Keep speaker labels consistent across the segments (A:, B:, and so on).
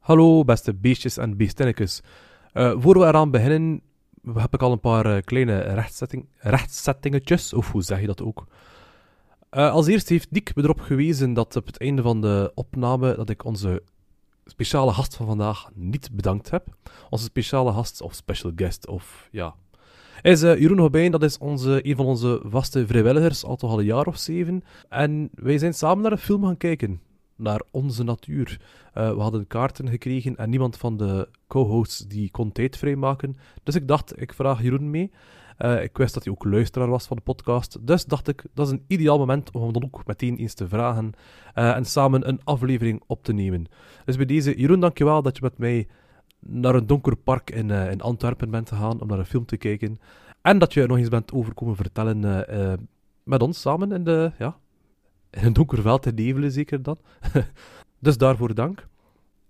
A: Hallo beste beestjes en beestinnetjes. Eh, voor we eraan beginnen heb ik al een paar eh, kleine rechtzetting, rechtzettingetjes, of hoe zeg je dat ook? Eh, als eerst heeft Dick me erop gewezen dat op het einde van de opname dat ik onze speciale gast van vandaag niet bedankt heb. Onze speciale gast of special guest of ja. Is eh, Jeroen Gobijn, dat is onze, een van onze vaste vrijwilligers, al toch al een jaar of zeven. En wij zijn samen naar een film gaan kijken. Naar Onze Natuur. Eh, we hadden kaarten gekregen en niemand van de co-hosts die kon tijd vrijmaken. Dus ik dacht, ik vraag Jeroen mee. Eh, ik wist dat hij ook luisteraar was van de podcast. Dus dacht ik, dat is een ideaal moment om hem dan ook meteen eens te vragen. eh, en samen een aflevering op te nemen. Dus bij deze, Jeroen, dankjewel dat je met mij naar een donker park in, eh, in Antwerpen bent gegaan om naar een film te kijken. En dat je er nog eens bent overkomen vertellen eh, eh, met ons samen in, de, ja, in een donker veld te nevelen, zeker dan. dus daarvoor dank.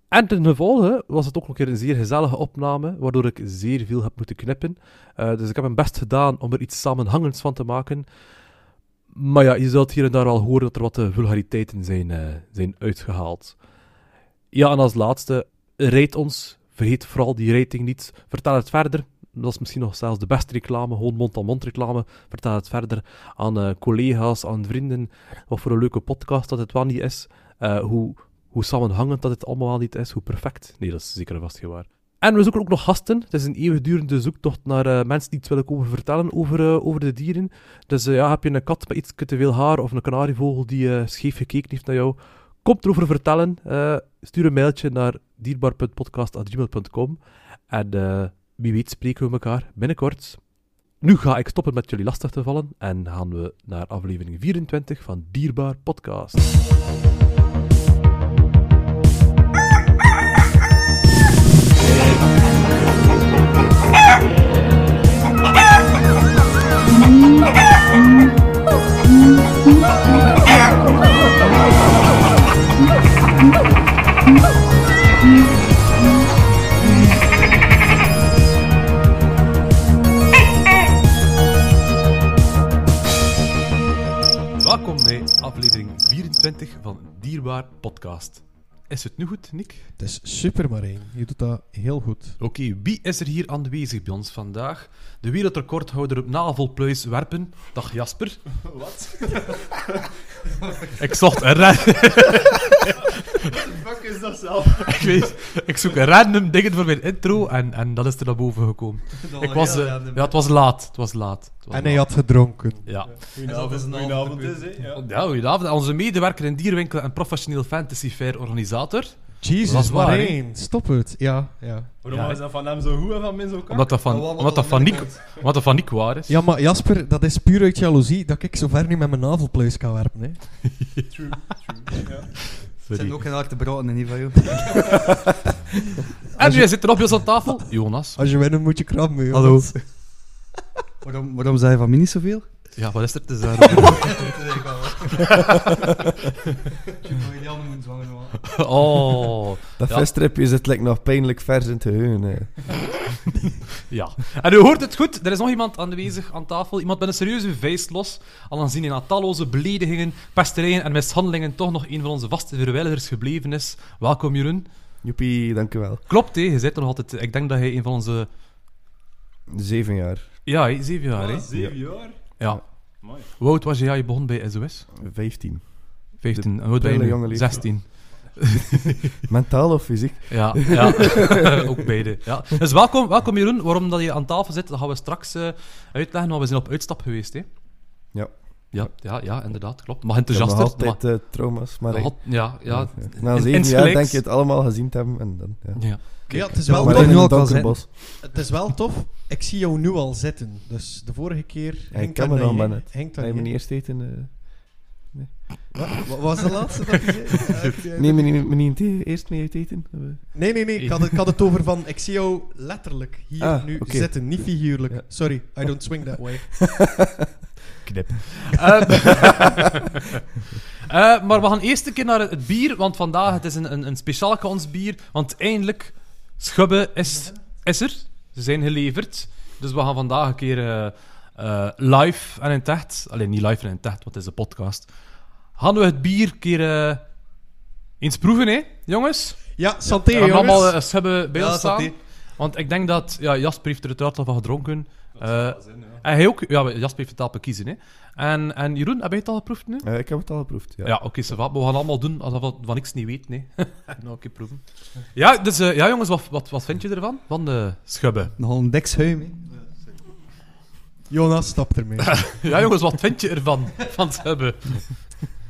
A: En ten gevolge was het ook nog een keer een zeer gezellige opname, waardoor ik zeer veel heb moeten knippen. Eh, dus ik heb mijn best gedaan om er iets samenhangends van te maken. Maar ja, je zult hier en daar wel horen dat er wat eh, vulgariteiten zijn, eh, zijn uitgehaald. Ja, en als laatste, rate ons. Vergeet vooral die rating niet. Vertel het verder. Dat is misschien nog zelfs de beste reclame, gewoon mond-aan-mond reclame. Vertel het verder aan eh, collega's, aan vrienden. Wat voor een leuke podcast dat het wel niet is. Eh, hoe hoe samenhangend dat het allemaal niet is, hoe perfect. Nee, dat is zeker en vast geen waar. En we zoeken ook nog gasten. Het is een eeuwigdurende zoektocht naar eh, mensen die iets willen komen vertellen over, eh, over de dieren. Dus eh, ja, heb je een kat met iets te veel haar of een kanarievogel die eh, scheef gekeken heeft naar jou? Kom erover vertellen. Eh, stuur een mailtje naar dierbaar.podcast.gmail.com En eh, wie weet spreken we elkaar binnenkort. Nu ga ik stoppen met jullie lastig te vallen en gaan we naar aflevering 24 van Dierbaar Podcast. Welkom bij aflevering 24 van Dierbaar Podcast. Is het nu goed, Nick?
B: Het is super, Marijn. Je doet dat heel goed.
A: Oké, wie is er hier aanwezig bij ons vandaag? De wereldrecordhouder op navelpluis werpen. Dag Jasper. Wat? ik zocht een random...
C: fuck is dat zelf?
A: Ik, weet- ik zoek random dingen voor mijn intro en, en dat is er naar boven gekomen. Ik was, eh, ja, het was laat. Het was laat. Het was
B: En hij
A: laat.
B: had gedronken.
A: Ja.
C: Goedenavond, goedenavond is, hè? Ja.
A: Ja, goedenavond. Onze medewerker in Dierwinkel en professioneel fantasy fair organisator. Dat is
B: Jesus,
A: waar,
B: Marijn, stop het. Ja, ja.
C: Waarom
A: Ja.
C: was dat van hem zo goed en van mij zo kak?
A: Omdat dat van, omdat dat van, Nick, omdat dat van Nick waar is.
B: Ja, maar Jasper, dat is puur uit jaloezie dat ik zo ver niet met mijn navelpluis kan werpen. Hè.
C: True, true. Ja.
D: Het zijn ook geen harde broden in ieder
A: En wie zit er nog bij ons aan tafel? Jonas.
B: Als je winnen moet je krabben. joh.
D: Hallo. waarom, waarom zei je van mij niet zoveel?
A: Ja, wat is er te zeggen?
D: Ik heb nog een andere moet zwanger maken.
A: Oh,
E: Dat
A: Ja.
E: vestripje zit like, nog pijnlijk vers in het geheugen. Hè.
A: ja. En u hoort het goed, er is nog iemand aanwezig aan tafel. Iemand met een serieuze vuist los. Al aanzien hij na talloze beledigingen, pesterijen en mishandelingen toch nog een van onze vaste verwijderders gebleven is. Welkom, Jeroen.
E: Joepie, dankjewel.
A: Klopt, hè? Je zit er nog altijd. Ik denk dat hij een van onze.
E: Zeven jaar.
A: Ja, hè, zeven jaar, hè?
C: Ah, Zeven jaar?
A: Ja.
C: Mooi.
A: Hoe oud was je? Ja, je begon bij SOS.
E: Vijftien.
A: 15. En hoe oud ben je?
E: prille
A: nu?
E: jonge leeftijd.
A: 16.
E: Mentaal of fysiek?
A: Ja, ja. ook beide. Ja. Dus welkom, welkom Jeroen. Waarom dat je aan tafel zit, dat gaan we straks eh, uitleggen, want we zijn op uitstap geweest. Hè?
E: Ja.
A: ja. Ja, ja, inderdaad, klopt. Maar
E: Ik heb nog
A: enthousiaster.
E: altijd eh, trauma's, maar
A: maar,
E: ik-
A: had- ja, ja.
E: ja. na
A: in-
E: zeven jaar
A: insgelijks.
E: denk je het allemaal gezien te hebben. En dan, ja.
A: ja.
B: ja, het is,
D: Terwijl
B: wel tof,
D: we dat
E: Maar in
D: nu
E: een
D: ook al
E: donker
D: zijn.
E: bos.
B: het is wel tof. Ik zie jou nu al zitten. Dus de vorige keer...
E: ik ken me nog, man.
B: Hengt
E: Ga je me niet eerst eten? eh?
B: Wat, wat was de laatste dat je zei?
E: Nee, me niet- me niet te- e- eerst mee uit eten? Eh,
B: Nee, nee, nee. Ik had, het- ik had het over van... Ik zie jou letterlijk hier
E: Ah,
B: nu
E: oké.
B: zitten. Niet figuurlijk.
E: Ja.
B: Sorry, I don't swing that way.
E: Knip.
A: Ehm, eh, maar we gaan eerst een keer naar het bier, want vandaag het is een, een, een speciaal ons bier. Want eindelijk, Schubbe is, is er. Ze zijn geleverd. Dus we gaan vandaag een keer eh, eh, live en in het echt. Alleen niet live en in het echt, want het is een podcast. Gaan we het bier een keer eh, eens proeven, hè, jongens?
B: Ja, santé,
A: we gaan
B: jongens.
A: allemaal eh, schubben bij
D: Ja,
A: ons staan.
D: santé.
A: Want ik denk dat... Ja, Jasper heeft er uiteraard al van gedronken.
C: Dat zou
A: Eh,
C: wel zin, ja.
A: En hij ook... Ja, Jasper heeft het al bekiezen, hè. En, en Jeroen, heb je het al geproefd nu?
E: Eh, ik heb het al geproefd, ja.
A: Ja, oké, ça va. Maar we gaan allemaal doen alsof we van niks niet weten, hè. nou, een keer proeven. Ja, dus... eh, ja, jongens, wat, wat, wat vind je ervan? Van de schubben.
D: Nogal een dekshuim, hè.
B: Jonas, stap ermee.
A: Ja, jongens, wat vind je ervan? Van schubben.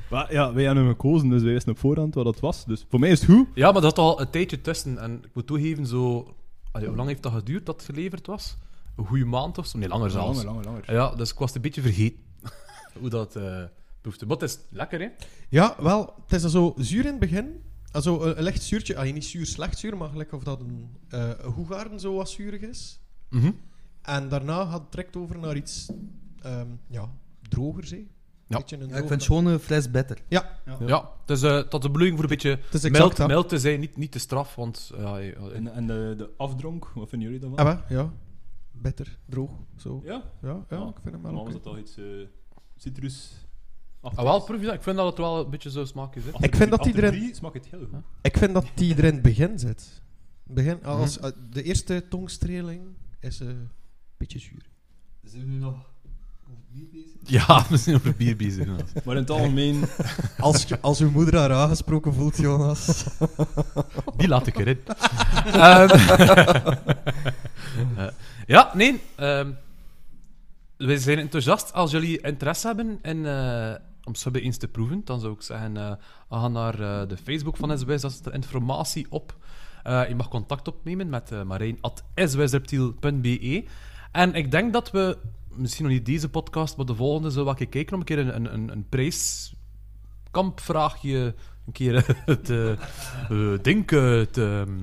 C: Maar ja, wij hebben hem gekozen, dus wij wisten op voorhand wat dat was. Dus voor mij is het goed.
A: Ja, maar dat had al een tijdje tussen. En ik moet toegeven, zo... Allee, hoe lang heeft dat geduurd dat het geleverd was? Een goede maand of zo? Nee, langer zelfs.
C: langer, langer.
A: Ja, dus ik was het een beetje vergeten hoe dat eh proefde. Maar het is lekker, hè?
B: Ja, wel, het is zo zuur in het begin. Ah, Zo een een licht zuurtje. Ah, niet zuur, slecht zuur, maar gelijk of dat een, eh een hoegaarden zo wat zuurig is. En daarna gaat het direct over naar iets ehm, ja, drogers, hè.
A: Ja.
B: Beetje een
D: Ja, ik
B: droger-
D: vind gewoon een fles better.
B: Ja,
A: Ja, dus eh dat de bedoeling voor een beetje
B: het is exact
A: mild,
B: dat.
A: mild te zijn, niet, niet te straf, want... ja, eh, eh,
C: En, en de, de afdronk, wat vinden jullie daarvan?
B: Ah, wel, ja. Bitter, droog, zo. Ja,
C: Ja,
B: ja,
C: Ah,
B: ik vind hem wel
C: normaal was
B: oké.
C: dat toch iets eh, citrus.
A: ah, wel, proef je dat? Ik vind dat het wel een beetje zo smaak is, hè?
B: Ik vind dat iedereen-
C: Drie smaakt het heel goed.
B: Ik vind dat die er in het begin zit. Begin, als, eh, de eerste tongstreling is eh, een beetje zuur.
D: Zijn we nu nog over bier bezig?
A: Ja, we zijn over bier bezig. Jonas.
C: Maar in het algemeen,
B: Als, je- als uw moeder haar aangesproken voelt, Jonas.
A: Die laat ik erin. Ehm, eh, ja, nee. ehm, wij zijn enthousiast. Als jullie interesse hebben in, eh, om subben eens te proeven, dan zou ik zeggen, eh ga naar eh, de Facebook van SWS. Daar staat er informatie op. Eh, je mag contact opnemen met eh marijn.swsreptiel.be. E. En ik denk dat we, misschien nog niet deze podcast, maar de volgende, zo wat ik kijken om een keer een, een, een, een prijskampvraagje een keer het eh, eh, ding eh, het, ehm,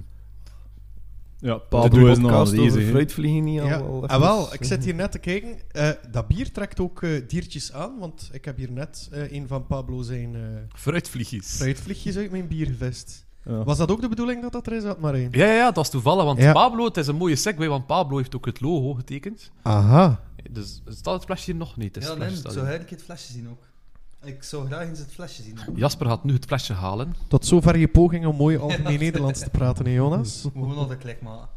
C: ja,
E: De
C: Pablo is nogal
E: podcast over
C: easy. hè.
E: fruitvliegen niet
B: Ja,
E: allemaal.
B: ah, wel, ik zit hier net te kijken. Eh, dat bier trekt ook eh, diertjes aan, want ik heb hier net eh, een van Pablo zijn eh
A: fruitvliegjes.
B: fruitvliegjes uit mijn bier gevist.
C: Ja.
B: Was dat ook de bedoeling dat dat er is, had maar één?
A: Ja, ja, ja, dat is toevallig, want
B: Ja.
A: Pablo, het is een mooie segue, want Pablo heeft ook het logo getekend.
B: Aha.
A: Dus staat het flesje hier nog niet? Het is
D: Ja,
A: het
D: nee,
A: flesje
D: zo
A: staat hier.
D: zou ik het flesje zien ook. Ik zou graag eens het flesje zien.
A: Jasper gaat nu het flesje halen.
B: Tot zover je poging om mooi algemeen Nederlands te praten, hè, Jonas?
D: We moeten nog een klik maken.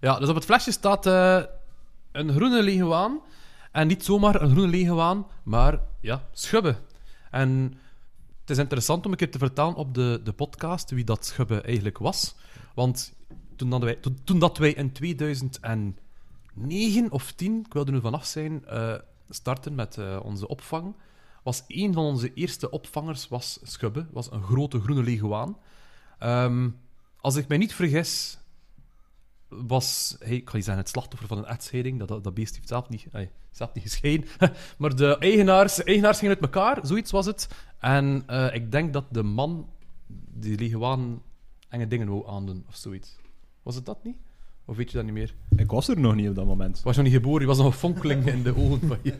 A: Ja, dus op het flesje staat eh, een groene leguaan. En niet zomaar een groene leguaan, maar ja, schubben. En het is interessant om een keer te vertalen op de, de podcast wie dat schubben eigenlijk was. Want toen dat wij, toen, toen dat wij in 2009 of 10, ik wil er nu vanaf zijn, eh, starten met eh, onze opvang, was een van onze eerste opvangers was schubben, was een grote groene leguaan. Ehm, als ik mij niet vergis, was hij, ik ga niet zeggen het slachtoffer van een echtscheiding, dat, dat, dat beest heeft zelf niet, ay, zelf niet gescheiden. maar de eigenaars, eigenaars gingen uit elkaar, zoiets was het. En eh, ik denk dat de man die leguaan enge dingen wou aandoen of zoiets. Was het dat niet? Of weet je dat niet meer?
C: Ik was er nog niet op dat moment.
A: Was je nog niet geboren, je was nog een fonkeling in de ogen van je.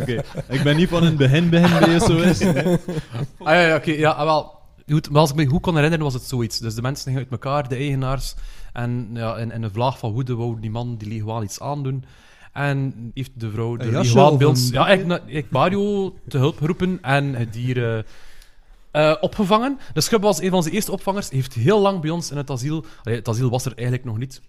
C: Oké, ik ben niet van een begin begin bij SOS. hè.
A: Ah ja, ja, oké, ja, ah, wel. Goed, maar als ik me goed kan herinneren, was het zoiets. Dus de mensen gingen uit elkaar, de eigenaars. En ja, in, in een vlaag van woede wou die man die leguaan iets aandoen. En heeft de vrouw de
D: Een jasje
A: leguaan
D: of
A: bij ons...
D: een
A: Ja, ik, na- ik Mario te hulp geroepen en het dier eh, eh, opgevangen. De schub was een van onze eerste opvangers. Heeft heel lang bij ons in het asiel... Allee, het asiel was er eigenlijk nog niet.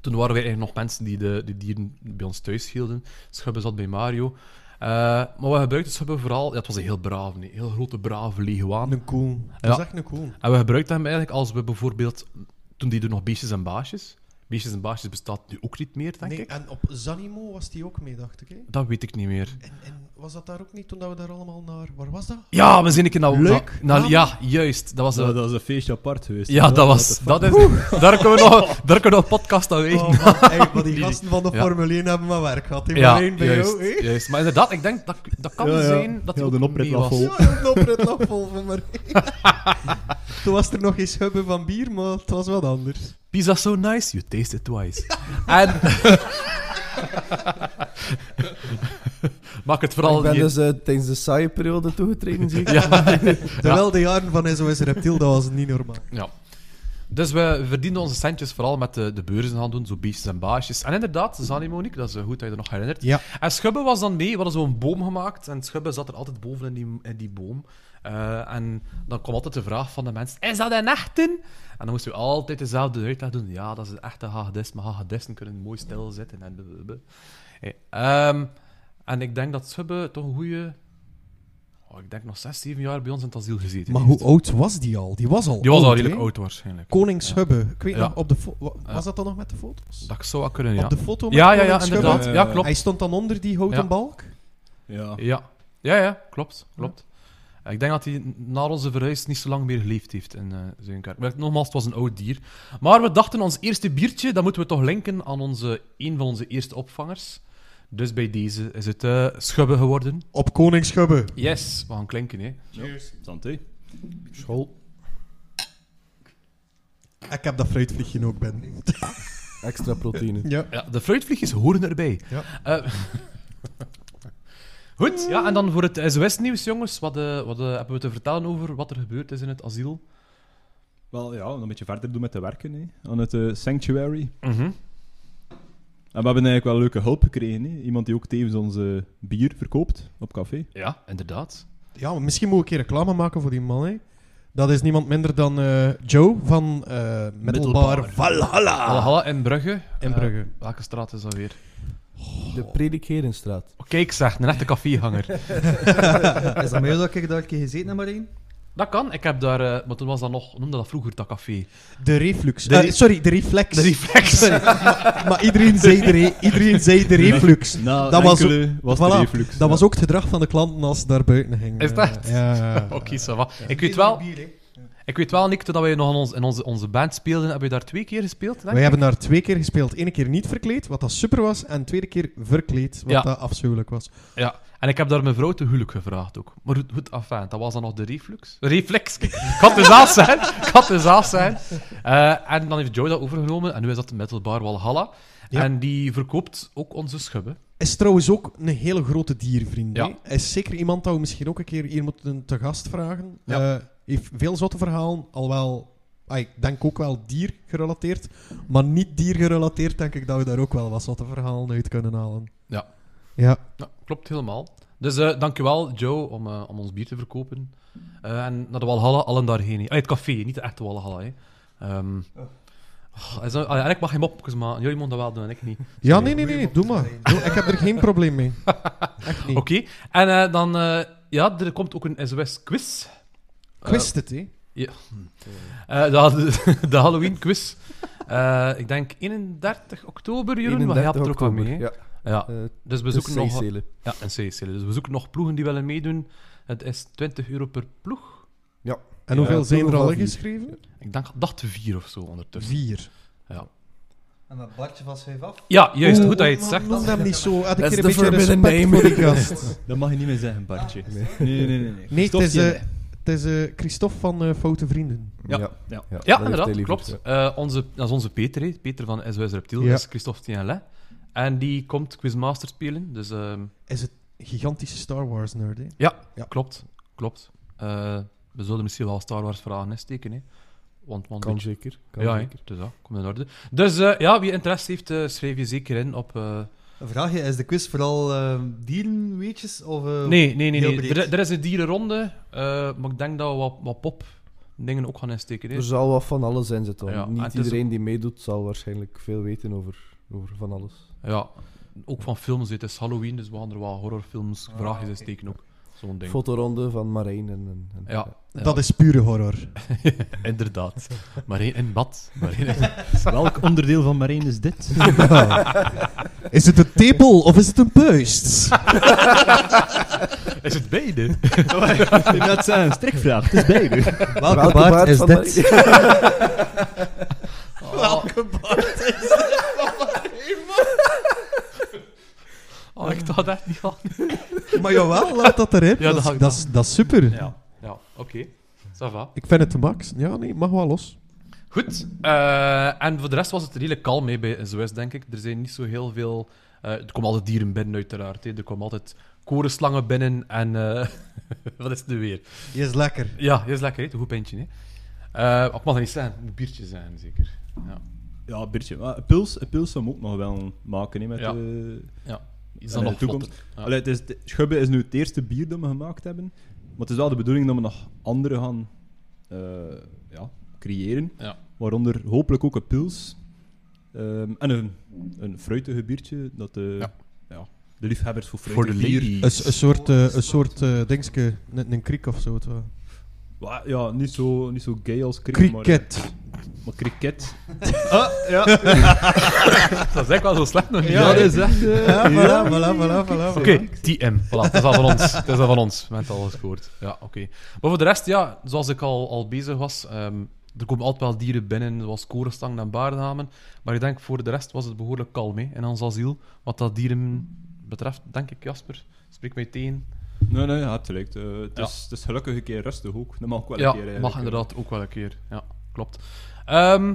A: Toen waren we eigenlijk nog mensen die de die dieren bij ons thuis hielden. Schubben zat bij Mario. Eh, maar we gebruikten Schubben vooral... Ja, het was een heel brave, een heel grote, brave leguaan.
B: Een cool. Dat is echt een cool.
A: En we gebruikten hem eigenlijk als we bijvoorbeeld... Toen deden we nog beestjes en baasjes. Beestjes en baasjes bestaat nu ook niet meer, denk
B: Nee,
A: ik.
B: en op Zanimo was die ook mee, dacht ik. hè?
A: Dat weet ik niet meer.
B: En, en was dat daar ook niet toen dat we daar allemaal naar... Waar was dat?
A: Ja, we zijn een keer naar...
B: Leuk.
A: naar- naar- ja, juist. Dat was...
C: Dat,
A: eh,
C: dat is een feestje apart geweest.
A: ja, dat was... Dat is, daar, kunnen we nog, daar kunnen we een podcast aan wijden.
B: Oh, man, hey, maar die gasten van de
A: Ja.
B: Formule 1 hebben maar werk gehad. hè,
A: ja,
B: maar één bij
A: juist,
B: jou, hè?
A: juist. Maar inderdaad, ik denk dat, dat kan
C: Ja, ja.
A: zijn dat hij
C: Heel
A: ook
C: de oprit
A: mee
C: lag
A: was.
C: vol.
B: Ja, ja, nog het nog vol van maar. Toen was er nog eens hubben van bier, maar het was wat anders.
A: Pizza so nice, you taste it twice. En... Maak het vooral
E: Ik ben
A: niet...
E: dus eh, tijdens de saaie periode toegetreden, zie ik.
A: Ja,
B: Terwijl de jaren van SOS Reptiel, dat was niet normaal.
A: ja. Dus we verdienen onze centjes vooral met de, de beurzenhandel, zo beestjes en baasjes. En inderdaad, Zanimonique, dat is eh, goed dat je dat nog herinnert.
B: Ja.
A: En Schubbe was dan mee, we hadden zo'n boom gemaakt. En Schubbe zat er altijd boven in die, in die boom. Eh, en dan kwam altijd de vraag van de mensen, is dat een echte? En dan moesten we altijd dezelfde uitleg doen. Ja, dat is een echte hagedis, maar hagedissen kunnen mooi stil zitten. En, blablabla. Hey, ehm, en ik denk dat Swibbe toch een goede... Oh, ik denk nog zes, zeven jaar bij ons in het asiel gezeten
B: Maar
A: heeft.
B: hoe oud was die al? Die was al
A: Die was al
B: oud,
A: redelijk
B: hè?
A: oud waarschijnlijk.
B: Koningshubbe. Ik weet
A: Ja.
B: nog, op de fo- wa- was
A: Ja.
B: dat dan nog met de foto's?
A: Dat ik zou wel kunnen, ja.
B: Op de foto met
A: Ja, ja, ja,
B: Koningshubbe?
A: inderdaad. Ja,
C: Eh,
A: klopt.
B: Hij stond dan onder die houten
A: Ja.
B: balk?
C: Ja.
A: Ja, ja, ja klopt. klopt. Ik denk dat hij na onze verhuis niet zo lang meer geleefd heeft in eh Zeugenkerk. Maar nogmaals, het was een oud dier. Maar we dachten, ons eerste biertje, dat moeten we toch linken aan onze, een van onze eerste opvangers. Dus bij deze is het eh schubben geworden.
B: Op Koningshubbe.
A: Yes, we gaan klinken, hè.
C: Cheers. Santé.
E: School.
B: Ik heb dat fruitvliegje ook, Ben.
E: Extra proteïne.
B: Ja.
A: Ja, de fruitvliegjes horen erbij.
B: Ja.
A: Eh, goed, ja, en dan voor het SOS-nieuws, jongens. Wat, eh, wat eh, hebben we te vertellen over wat er gebeurd is in het asiel?
C: Wel ja, een beetje verder doen met de werken hè, aan het eh, Sanctuary. En we hebben eigenlijk wel leuke hulp gekregen. Hè. Iemand die ook tevens onze bier verkoopt op café.
A: Ja, inderdaad.
B: ja, maar misschien moet ik een keer reclame maken voor die man, hè. Dat is niemand minder dan eh, Joe van eh Middelbaar,
A: Middelbaar.
B: Valhalla.
A: Valhalla in Brugge.
B: In
A: Eh,
B: Brugge.
A: welke straat is dat weer?
E: De Predikerenstraat.
A: Oh, Kijk zeg, een echte caféhanger.
D: Is dat mij dat ik daar een keer gezeten heb, Marijn?
A: dat kan. Ik heb daar... eh, maar toen was dat nog... Noemde dat vroeger dat café.
B: De reflux.
A: De
B: Eh,
A: re-
B: sorry, de reflex.
A: De reflex.
B: Sorry. maar, maar iedereen, zei de re- iedereen zei de reflux.
C: Nou,
B: Dat was
C: enkele was de
B: Voilà.
C: reflux.
B: Dat was ook het gedrag van de klanten als ze daar buiten gingen.
A: Is dat?
B: Ja.
A: Oké, ça va. Ik weet wel... Ik weet wel, Nick, toen wij nog in, ons, in onze, onze band speelden, hebben we daar twee keer gespeeld, denk
B: Wij
A: ik?
B: hebben daar twee keer gespeeld. Eén keer niet verkleed, wat dat super was. En de tweede keer verkleed, wat
A: Ja.
B: dat afschuwelijk was.
A: Ja. En ik heb daar mijn vrouw te huwelijk gevraagd ook. Maar goed, goed afijn, dat was dan nog de reflux. Reflex. Ik had de zaal zijn. Ik had de zaal zijn. Eh, en dan heeft Joe dat overgenomen. En nu is dat de Metalbar Walhalla.
B: Ja.
A: En die verkoopt ook onze schubben.
B: Is trouwens ook een hele grote diervriend.
A: Ja.
B: hè? Hij is zeker iemand dat we misschien ook een keer hier moeten te gast vragen.
A: Ja.
B: Eh, heeft veel zotte verhalen, al wel... ah, ik denk ook wel dier gerelateerd. Maar niet dier gerelateerd denk ik dat we daar ook wel wat zotte verhalen uit kunnen halen.
A: Ja.
B: Ja.
A: Ja, klopt helemaal. Dus eh dankjewel, Joe, om, eh, om ons bier te verkopen. Eh, en naar de Walhalla, allen daarheen. hè. Allee, het café, niet de echte Walhalla. Hè. Ehm oh, is dat- allee, eigenlijk mag je mopjes maken. Jullie mogen dat wel doen en ik niet.
B: Ja, nee, nee, nee, doe maar. Doe- ik heb er geen probleem mee. Echt niet.
A: Oké, en eh, dan... eh, ja, er komt ook een SOS-quiz.
B: Ik wist het, hè.
A: Eh, de, ha- de Halloween-quiz. Eh, ik denk 31 oktober, Jeroen, maar jij hebt er ook wel mee. hè?
E: Ja.
A: Ja,
E: eh,
A: dus we
E: de
A: zoeken nog...
E: C-cellen.
A: Ja, een CSC. Dus we zoeken nog ploegen die willen meedoen. Het is 20 euro per ploeg.
B: En hoeveel
E: Ja,
B: zijn er al
E: ongeveer vier.
B: ingeschreven?
A: Ik denk, dacht vier of zo ondertussen.
B: Vier.
A: Ja,
D: En dat bartje van schijf af.
A: ja juist.
B: Oeh,
A: goed dat je het
B: maar
A: zegt.
B: Noem hem niet zo. Had ik
E: Oh, That's
B: hier een
E: the
B: beetje respect
E: forbidden
B: voor
E: name.
B: die gast.
C: Dat mag je niet meer zeggen, Bartje. Nee, nee, nee. nee, nee.
B: Nee, het is,
C: Christophe,
B: eh, het is eh, Christophe van eh, Foute Vrienden.
A: Ja.
C: Ja,
E: dat
A: Ja,
E: heeft hij
A: inderdaad,
E: liever,
A: klopt.
E: ja.
A: Eh, onze, dat is onze Peter, hè. Peter van SOS Reptiel,
B: Ja.
A: dat is Christophe Tienlet. En die komt Quizmaster spelen, dus ehm,
B: Is het gigantische Star Wars nerd, hè? Ja.
A: klopt, klopt. Eh, we zullen misschien wel Star Wars vragen insteken, hè. Want, want
E: Kan zeker. Kan
A: ja, hè.
E: zeker.
A: dus dat komt in orde. Dus eh, ja, wie interesse heeft, eh, schrijf je zeker in op... eh,
D: Een vraagje, is de quiz vooral eh, dierenweetjes? Of, eh,
A: Nee, nee, nee.
D: heel
A: nee.
D: breed.
A: Er, er is een dierenronde, eh, maar ik denk dat we wat, wat pop dingen ook gaan insteken. Hè.
E: Er zal wat van alles in zitten.
A: Ja,
E: want
A: en het
E: Niet
A: is
E: iedereen die meedoet zal waarschijnlijk veel weten over, over van alles.
A: Ja, ook van films. Het is Halloween, dus we gaan er wel horrorfilms, vraagjes in steken ook. Zo'n ding.
E: Fotoronde van Marijn en... en, en-
A: Ja, ja,
B: Dat is pure horror.
A: inderdaad. Maar één in bad. Maar één
B: eh,
C: Welk onderdeel van Marijn is dit?
B: Is het een tepel of is het een puist?
A: Is het beide?
C: Ik dat zijn een strikvraag. Het is beide.
D: Welke, baard,
E: Welke baard
D: is
E: van
D: dit?
A: Ah. Welke Oh, ik dacht echt niet aan.
B: maar jawel, laat dat erin.
A: Ja, dat
B: dat,
A: hou
B: is,
A: ik
B: dat, is, dat is super.
A: Ja, oké. Ça va.
B: Ik vind het de max. Ja, nee, mag wel los.
A: Goed. eh, en voor de rest was het redelijk kalm mee bij SOS, denk ik. Er zijn niet zo heel veel... eh, er komen altijd dieren binnen, uiteraard. Hè. Er komen altijd korenslangen binnen en... eh, wat is het nu weer?
B: Die is lekker.
A: Ja, dat is lekker. hè. Het is Een goed pintje. Hè. Eh, ik mag dat niet zijn. Het moet een biertje zijn, zeker.
C: Ja, Bertje. Maar een pils, een pils zou hem ook nog wel maken hè, met eh,
A: Ja.
C: de,
A: Is
C: met de toekomst.
A: vlotter? Ja.
C: Allee, het is, de- Schubbe is nu het eerste bier dat we gemaakt hebben. Maar het is wel de bedoeling dat we nog andere gaan eh, ja, creëren.
A: Ja.
C: Waaronder hopelijk ook een pils. Ehm, en een, een fruitige biertje dat de, ja.
A: Ja.
C: de liefhebbers voor fruit
F: Voor de lady.
B: Een, een soort, eh, een soort eh, dingetje, een, een kriek of zo. het wel.
C: Ja, niet zo, niet zo gay als cricket. Maar, eh,
B: Kriket.
C: maar cricket.
A: Dat is echt wel zo slecht nog niet.
B: Ja,
A: hè?
B: dat
C: is echt...
B: Ja, voilà, voilà, voilà, voilà.
A: Oké, TM. Voilà, dat is al van ons. Dat is al van ons. We hebben het al gescoord. Ja, oké. Maar voor de rest, ja, zoals ik al, al bezig was, ehm, er komen altijd wel dieren binnen, zoals korenstang en baardamen. Maar ik denk voor de rest was het behoorlijk kalm hè, in ons asiel. Wat dat dieren betreft, denk ik, Jasper. Spreek mij tegen.
C: Nee, nee, ja, het lijkt. eh, het,
A: Ja.
C: is, het is gelukkig een keer rustig ook. Dat mag ook wel
A: ja,
C: een keer.
A: mag
C: eigenlijk, eh.
A: inderdaad ook wel een keer. Ja, klopt. Ehm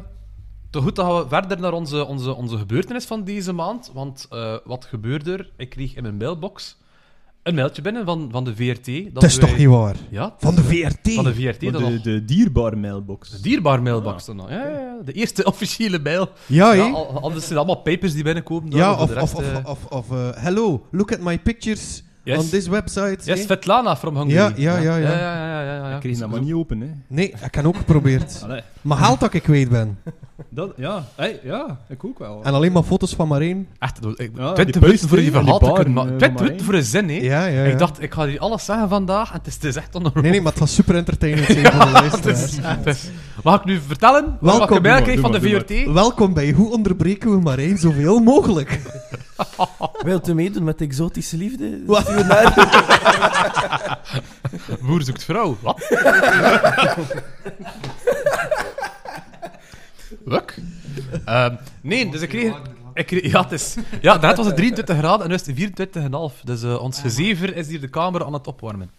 A: te goed, dan gaan we verder naar onze, onze, onze gebeurtenis van deze maand. Want eh, wat gebeurde er? Ik kreeg in mijn mailbox een mailtje binnen van, van de VRT. Dat
B: Dat is
A: wij-
B: toch niet waar?
A: Ja,
B: Van de VRT?
A: van de VRT.
C: Want
A: dat nog-
C: de, de dierbare mailbox.
A: de dierbaar mailbox dan nog. Ja, ja, ja, de eerste officiële mail.
B: Ja,
A: Ja,
B: hè?
A: al- anders zijn het allemaal papers die binnenkomen.
B: Oh, Ja,
A: maar voor
B: of,
A: de
B: of,
A: rest,
B: of,
A: eh,
B: of, of, eh, hello, look at my pictures
A: Yes.
B: on this website.
A: Yes,
B: hè?
A: Svetlana from Hungary.
B: Ja, ja, ja, ja.
A: ja, ja, ja, ja, ja.
C: Ik kreeg dat maar niet open, hè?
B: Nee, ik heb ook geprobeerd.
C: Allee,
B: Maar haalt dat ik kwijt ben.
C: dat, ja, hey, ja, ik ook wel.
B: En alleen maar foto's van maar één.
A: Echt, ik- ik-
C: Ja,
A: 20
C: die
A: minuten voor
C: puisten,
A: die verhaal te
C: die
A: kunnen maken.
C: baren, eh,
A: 20
C: van
A: minuten voor een zin, hè.
B: Ja, ja, ja.
A: Ik dacht, ik ga hier alles zeggen vandaag. En het is, het is echt ongelooflijk.
B: Nee, nee, maar het was super entertaining zijn voor de luisteraars.
A: Wat ga ik nu vertellen?
B: Welkom.
A: Wat ik een
B: Doe
A: mail
C: maar,
A: kreeg
C: doe
A: van de
C: maar, doe
A: VRT?
B: Welkom bij Hoe onderbreken we maar één zoveel mogelijk?
F: Wilt u meedoen met exotische liefde?
B: Wat?
F: Stuur naar-
A: Boer zoekt vrouw. Wat? Luk? Ehm, nee, dus ik kreeg... Ik kreeg ja, het is, ja, net was het 23 graden en nu is het 24,5. Dus eh, ons gezever is hier de kamer aan het opwarmen.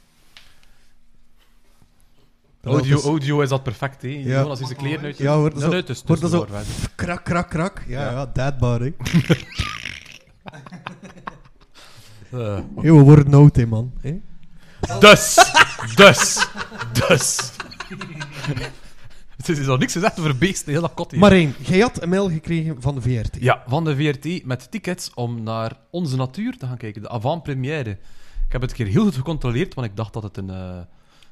A: Audio,
B: is-
A: audio is dat perfect, hè? Jonas is de kleren uit.
B: dus- Ja, hoor, dat
A: Nee,
B: zo,
A: nee, het is- het
B: hoor,
A: is
B: dat zo-
A: de doorwerking.
B: krak, krak, krak. Ja, ja, deadbar, hè.
A: Eh,
B: Hey, we worden oud, hè, man. Hey?
A: Dus, dus, dus. Het is al niks gezegd over beesten, heel dat kot hier.
B: Maar één, jij had een mail gekregen van de VRT.
A: Ja, van de VRT met tickets om naar Onze Natuur te gaan kijken, de avant-première. Ik heb het een keer heel goed gecontroleerd, want ik dacht dat het een, eh,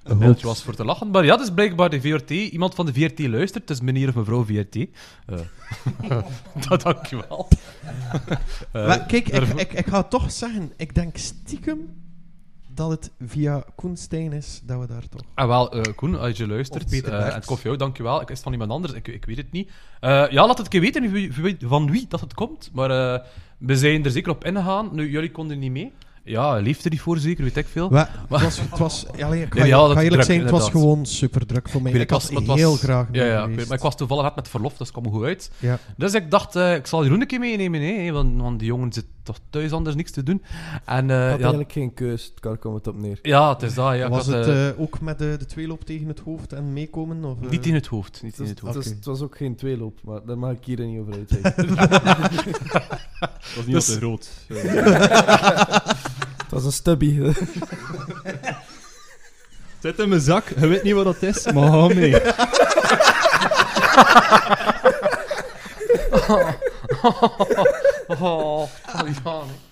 A: een mailtje was voor te lachen. Maar ja, dat is blijkbaar de VRT. Iemand van de VRT luistert, dus meneer of mevrouw VRT. Eh, dat dankjewel. Eh,
B: Maar kijk, ik,
A: daarvoor-
B: ik, ik ga toch zeggen, ik denk stiekem dat het via Koenstein is dat we daar toch...
A: Ah, wel, eh, Koen, als je luistert,
B: Of Peter
A: eh, en
B: Bergs.
A: het koffie ook, dankjewel. Ik is het van iemand anders, ik, ik weet het niet. Eh, ja, laat het een keer weten wie- wie- wie- van wie dat het komt. Maar eh, we zijn er zeker op ingegaan. Nu, jullie konden niet mee. Ja, liefde die voor zeker, weet ik veel.
B: Wa- het was, het was, allee, ik ga,
A: Nee, ja,
B: ik
A: dat
B: ga eerlijk
A: druk,
B: zijn, het was
A: inderdaad.
B: gewoon super druk voor mij.
A: Ik
B: Ik,
A: weet het,
B: had
A: maar het was-
B: heel graag mee
A: Ja, ja, ik weet-
B: geweest.
A: maar ik was toevallig net met verlof, dus ik kwam goed uit.
B: Ja.
A: Dus ik dacht, eh, ik zal Jeroen een keer meenemen, hè, want, want die jongen zit toch thuis anders niks te doen. En eh,
E: had
A: ja,
E: eigenlijk geen keus, het kan komen het op neer.
A: ja, het is dat. Ja, ik
B: was
A: had,
B: het
A: eh,
B: eh, ook met de, de tweeloop tegen het hoofd en meekomen? Of, eh?
A: niet in het hoofd. Niet
E: Het
A: in
E: was,
A: het hoofd.
E: het was-
B: Oké.
E: het was ook geen tweeloop, maar daar mag ik hier niet over uitwijken.
C: Dat was niet al te groot. Eh,
E: het was een stubby.
C: het zit in mijn zak, je weet niet wat dat is, maar hou mee.
A: Oh, ja, nee.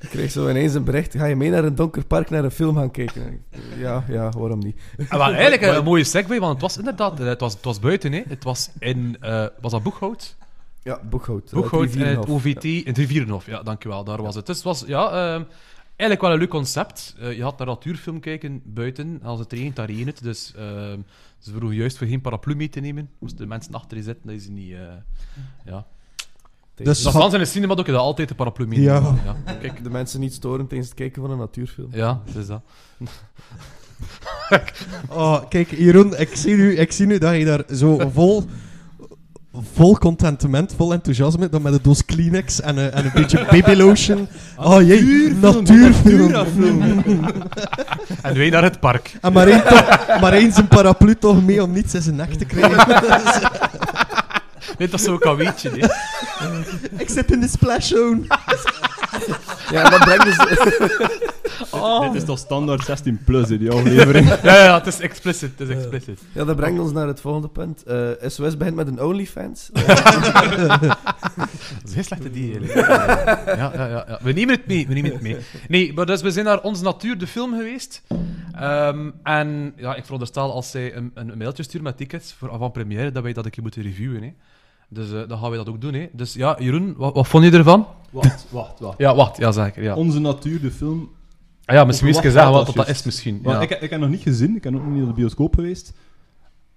E: Ik kreeg zo ineens een bericht, ga je mee naar een donker park naar een film gaan kijken? Ja, ja, waarom niet?
A: Ah, wel, eigenlijk een, een mooie segue, want het was inderdaad, eh, het was, het was buiten, hè. het was in, eh, was dat Boeghout?
E: Ja, eh, boekhoud.
A: Boeghout in eh, het
E: Rivierenhof.
A: OVT, in het Rivierenhof, ja, dankjewel, daar was het. Dus het was, ja, ehm, eigenlijk wel een leuk concept. Eh, je had naar natuurfilm kijken buiten, en als het regent, daar regent het, dus ehm, ze vroegen juist voor geen paraplu mee te nemen. Moesten de mensen achter je zitten, dat is niet, eh, ja.
B: Dus
A: Dat
B: van-
A: staan ze in de cinema, dat je dat altijd de paraplu mee
B: Ja.
A: neemt. Ja, kijk.
E: De mensen niet storen tijdens het kijken van een natuurfilm.
A: Ja, dat is dat.
B: Oh, kijk, Jeroen, ik zie, nu, ik zie nu dat je daar zo vol, vol contentement, vol enthousiasme, dan met een doos Kleenex en een, en een beetje baby lotion. Oh jee, natuurfilm.
A: En wij naar het park.
B: En maar één, toch, maar één zijn paraplu toch mee om niets in zijn nek te krijgen.
A: Dit was zo'n kaweetje, hè.
B: ik zit in de splash zone.
E: Ja, en dat brengt dus...
C: Dit is toch standaard 16 plus, hè, die aflevering.
A: Ja, ja, het is explicit, het is explicit.
E: Ja, dat brengt ons naar het volgende punt. Eh SOS begint met een OnlyFans.
A: Dat is een heel slechte idee, eigenlijk. ja, ja, ja, ja. We nemen het mee, we nemen het mee. Nee, maar dus we zijn naar Ons Natuur, de film geweest. Eh, Ehm, en ja, ik veronderstel als zij een, een mailtje sturen met tickets voor avant-première, dat wij dat een keer moeten reviewen. Hè. Dus eh, dan gaan wij dat ook doen. Hè. Dus ja, Jeroen, wat, wat vond je ervan?
C: Wacht, wacht, wacht.
A: Ja, wacht, ja zeker. Ja,
C: Onze Natuur, de film.
A: Ah ja misschien eens
C: Over wat
A: zeggen wat
C: gaat dat
A: dat, dat
C: juist?
A: is misschien.
C: Want
A: Ja.
C: Ik, ik heb nog niet gezien, ik ben ook nog niet naar de bioscoop geweest.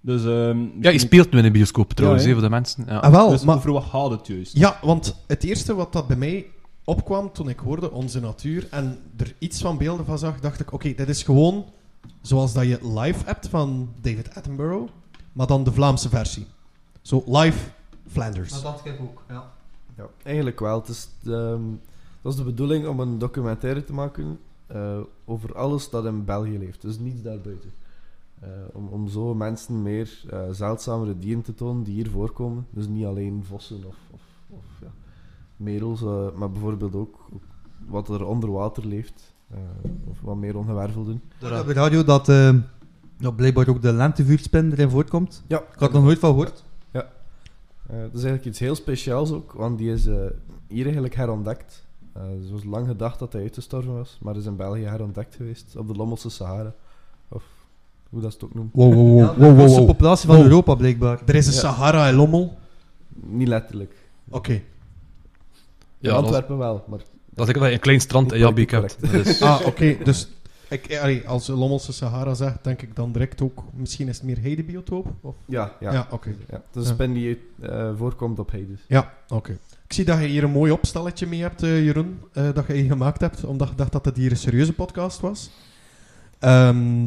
C: Dus, ehm,
A: ja, je
C: misschien-
A: speelt nu in een bioscoop trouwens,
C: hè?
A: hè, voor de mensen. Ja.
B: Ah, wel,
C: dus
B: maar...
C: over wat gaat het juist?
B: Ja, want het eerste wat dat bij mij opkwam toen ik hoorde Onze Natuur en er iets van beelden van zag, dacht ik, oké, dit is gewoon zoals dat je live hebt van David Attenborough, maar dan de Vlaamse versie. Zo live Flanders.
F: Dat dacht ik ook, ja.
E: Ja, eigenlijk wel. Het is, ehm, dat is de bedoeling om een documentaire te maken eh, over alles dat in België leeft. Dus niets daarbuiten. Eh, om, om zo mensen meer eh, zeldzamere dieren te tonen die hier voorkomen. Dus niet alleen vossen of, of, of ja, merels, eh, maar bijvoorbeeld ook wat er onder water leeft. eh, of wat meer ongewervelden.
D: Op de radio dat, eh, dat blijkbaar ook de lentevuurspin erin voortkomt.
E: Ja,
D: Ik had er nog nooit van gehoord.
E: Eh, dat is eigenlijk iets heel speciaals ook, want die is eh, hier eigenlijk herontdekt. Eh er was lang gedacht dat hij uitgestorven was, maar is in België herontdekt geweest, op de Lommelse Sahara. Of hoe dat ze het ook noemt.
D: Wow, wow, wow. de
B: wow,
D: grootste
B: wow.
D: populatie van
B: Wow.
D: Europa blijkbaar.
B: Er is een
E: Ja.
B: Sahara en Lommel.
E: Niet letterlijk.
B: Oké.
E: In
A: Ja, dat, was-
E: Antwerpen wel, maar
A: dat is een klein strand in Jabbi ik heb.
E: Correct.
A: Dat is-
B: Ah, oké. Dus ik, eh, allee, als je Lommelse Sahara zegt, denk ik dan direct ook, misschien is het meer heidebiotoop? Of?
E: ja,
B: Ja,
E: ja. ja.
B: oké.
E: het is een spin die eh, voorkomt op Heides.
B: Ja, oké. Ik zie dat je hier een mooi opstelletje mee hebt, eh, Jeroen, eh, dat je hier gemaakt hebt, omdat ik dacht dat het hier een serieuze podcast was. Ehm,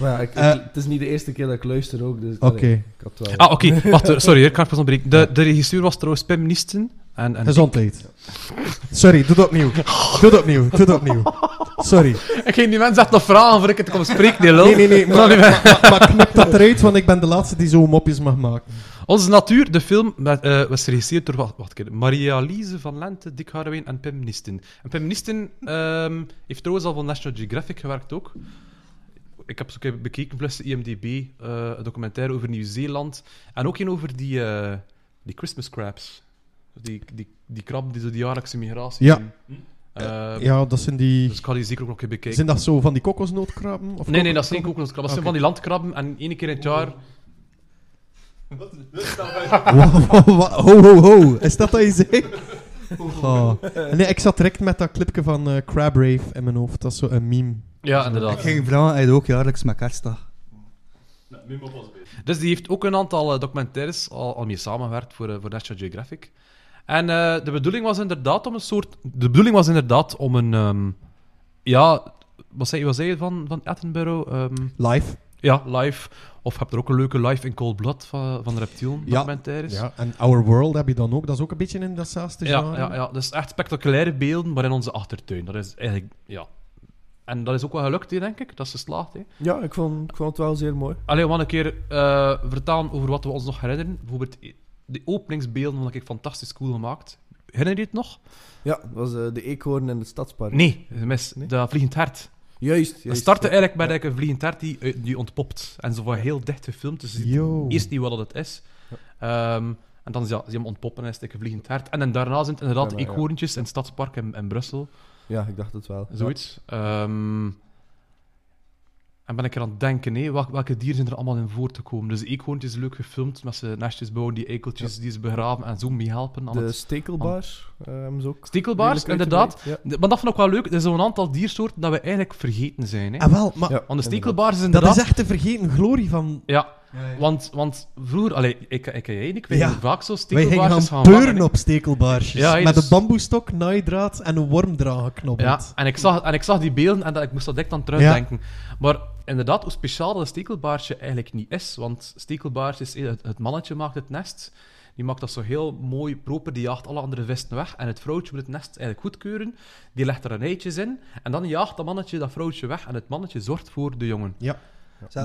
E: Maar ja, ik- ik-
B: Eh.
E: het is niet de eerste keer dat ik luister ook, dus
B: oké.
E: allee, ik had wel...
A: Ah, oké. Wacht, eh, sorry, hè, ik kan pas ontbreken. De, de regisseur was trouwens Pim Nisten. En, en
B: Gezondheid. Sorry, doe dat opnieuw. Doe dat opnieuw, doe dat opnieuw. Sorry.
A: Ik ging die mensen echt nog vragen voor ik het kon spreken, die lul.
B: Nee, nee, nee. Maar, maar, maar knip dat eruit, want ik ben de laatste die zo mopjes mag maken.
A: Onze Natuur, de film, met, eh, was geregisseerd door wacht, wacht, een keer, Maria-Lise van Lente, Dick Harrewijn en Pim Nisten. En Pim Nisten ehm, heeft trouwens al voor National Geographic gewerkt ook. Ik heb ze ook even bekeken, plus de IMDb, eh, een documentaire over Nieuw-Zeeland. En ook een over die, eh, die Christmas crabs. Die, die, die krab die zo die jaarlijkse migratie
B: Ja.
A: doen. Ehm,
B: Ja, dat zijn
A: Dus
B: die...
A: ik ga die zeker ook nog even bekijken.
B: Zijn dat zo van die kokosnootkrabben? Of
A: Nee, nee,
B: kok-
A: dat is geen kokoskrab. Dat zijn
B: Oké.
A: van die landkrabben en één keer in het jaar...
B: Wa- wa- wa- ho, ho, ho. Is dat wat je zei? Oh. Nee, ik zat direct met dat clipje van eh, Crab Rave in mijn hoofd. Dat is zo een meme.
A: Ja, inderdaad.
D: Ik ging vragen, hij doet ook jaarlijks met kerstdag.
A: Dus die heeft ook een aantal eh, documentaires al, al mee samengewerkt voor, eh, voor National Geographic. En eh, de bedoeling was inderdaad om een soort... De bedoeling was inderdaad om een... ehm, ja, wat zei, wat zei je van, van Attenborough? Ehm,
B: Live.
A: ja, live. Of je hebt er ook een leuke live in Cold Blood van, van de Reptielen
B: Ja.
A: documentaires.
B: Ja, en Our World heb je dan ook. Dat is ook een beetje in datzelfde
A: Dus- Ja,
B: genre.
A: ja, ja, dus echt spectaculaire beelden, maar in onze achtertuin. Dat is eigenlijk, ja. En dat is ook wel gelukt, hè, denk ik. Dat is geslaagd, hè.
E: Ja, ik vond, ik vond het wel zeer mooi.
A: Allee, we gaan een keer eh, vertalen over wat we ons nog herinneren. Bijvoorbeeld, eh, de openingsbeelden vond ik fantastisch cool gemaakt. Herinner je het nog?
E: Ja, dat was eh, de eekhoorn in het stadspark.
A: Nee, mis.
E: Nee?
A: Dat vliegend hert.
E: Juist, juist.
A: We starten eigenlijk met eigenlijk een vliegend hert die, eh, die ontpopt. En zo van heel dicht gefilmd, dus je ziet
B: Yo.
A: eerst niet wat dat het is. Ehm, en dan ja, zie je hem ontpoppen en is het een vliegend hert. En dan daarna zijn het inderdaad
E: Daarna, ja.
A: eekhoorntjes in het stadspark in, in Brussel.
E: Ja, ik dacht het wel.
A: Zoiets. Ehm, en ben ik er aan het denken, hé, wel- welke dieren zijn er allemaal in voor te komen? Dus de eekhoorntjes leuk gefilmd, met ze nestjes bouwen, die ekeltjes die ze begraven en zo mee helpen aan
E: De
A: het...
E: stekelbaars eh, hebben ze ook.
A: Stekelbaars,
E: redelijk
A: inderdaad.
E: uitgebreid,
A: De- Maar dat vond ik wel leuk, er zijn zo'n aantal diersoorten dat we eigenlijk vergeten zijn. Hè?
B: Ah, wel, maar
E: Ja. Ja,
A: Want de
E: inderdaad.
A: stekelbaars is
B: dat
A: inderdaad...
B: is echt de vergeten glorie van...
A: Ja,
D: Ja,
A: want, want vroeger... Allee, ik, ik, ik, ik weet
B: Ja.
A: hoe vaak zo
B: Wij
A: stekelbaarsjes
B: gingen
A: gaan
B: gaan peuren
A: vangen, hè.
B: op stekelbaarsjes.
A: Ja,
B: met
A: dus-
B: een bamboestok, naaidraad en een wormdraad
A: Ja,
B: geknobbeld.
A: en ik, zag, en ik zag die beelden en dat, ik moest dat direct aan terugdenken. Maar inderdaad, hoe speciaal dat een stekelbaarsje eigenlijk niet is. Want stekelbaarsje is, het, het mannetje maakt het nest. Die maakt dat zo heel mooi proper, die jaagt alle andere visten weg. En het vrouwtje moet het nest eigenlijk goedkeuren. Die legt er een eitjes in. En dan jaagt dat mannetje dat vrouwtje weg. En het mannetje zorgt voor de jongen. Maar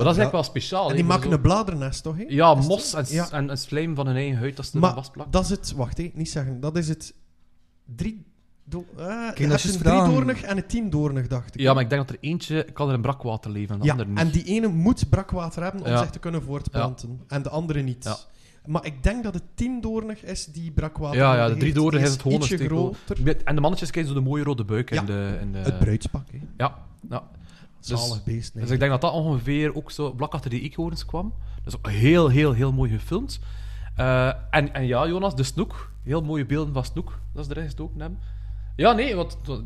A: dat is eigenlijk wel speciaal.
B: En
A: hè,
B: die
A: maar
B: maken
A: zo-
B: een bladernest, toch? hè?
A: Ja,
B: Is het
A: mos
B: zo?
A: en,
B: Ja.
A: en, en slijm van hun eigen huid, dat ze
B: Maar
A: maar, vastplakt.
B: Dat is het, wacht hè, niet zeggen. Dat is het drie. Do, eh, je
D: dat
B: hebt
D: is
B: een
D: gedaan.
B: driedoornig en een tiendoornig, dacht ik.
A: Ja, maar ik denk dat er eentje kan er in brakwater leven en de
B: Ja,
A: ander niet.
B: en die ene moet brakwater hebben om
A: Ja.
B: zich te kunnen voortplanten. En de andere niet.
A: Ja.
B: Maar ik denk dat het tiendoornig is die brakwater.
A: Ja, ja, de
B: heeft.
A: driedoornig
B: Die
A: is het gewoon
B: ietsje
A: een steek hoger.
B: groter.
A: Met- En de mannetjes krijgen zo de mooie rode buik.
B: Ja.
A: In de, in de...
B: Het bruidspak, hè.
A: Ja, ja.
B: Zalig beest. nee.
A: Dus ik denk dat dat ongeveer ook zo vlak achter die eekhoorns kwam. Dus ook heel, heel, heel mooi gefilmd. Eh, en, en ja, Jonas, de snoek. Heel mooie beelden van snoek. Dat is erin gestoken hebben. Ja, nee, want dat-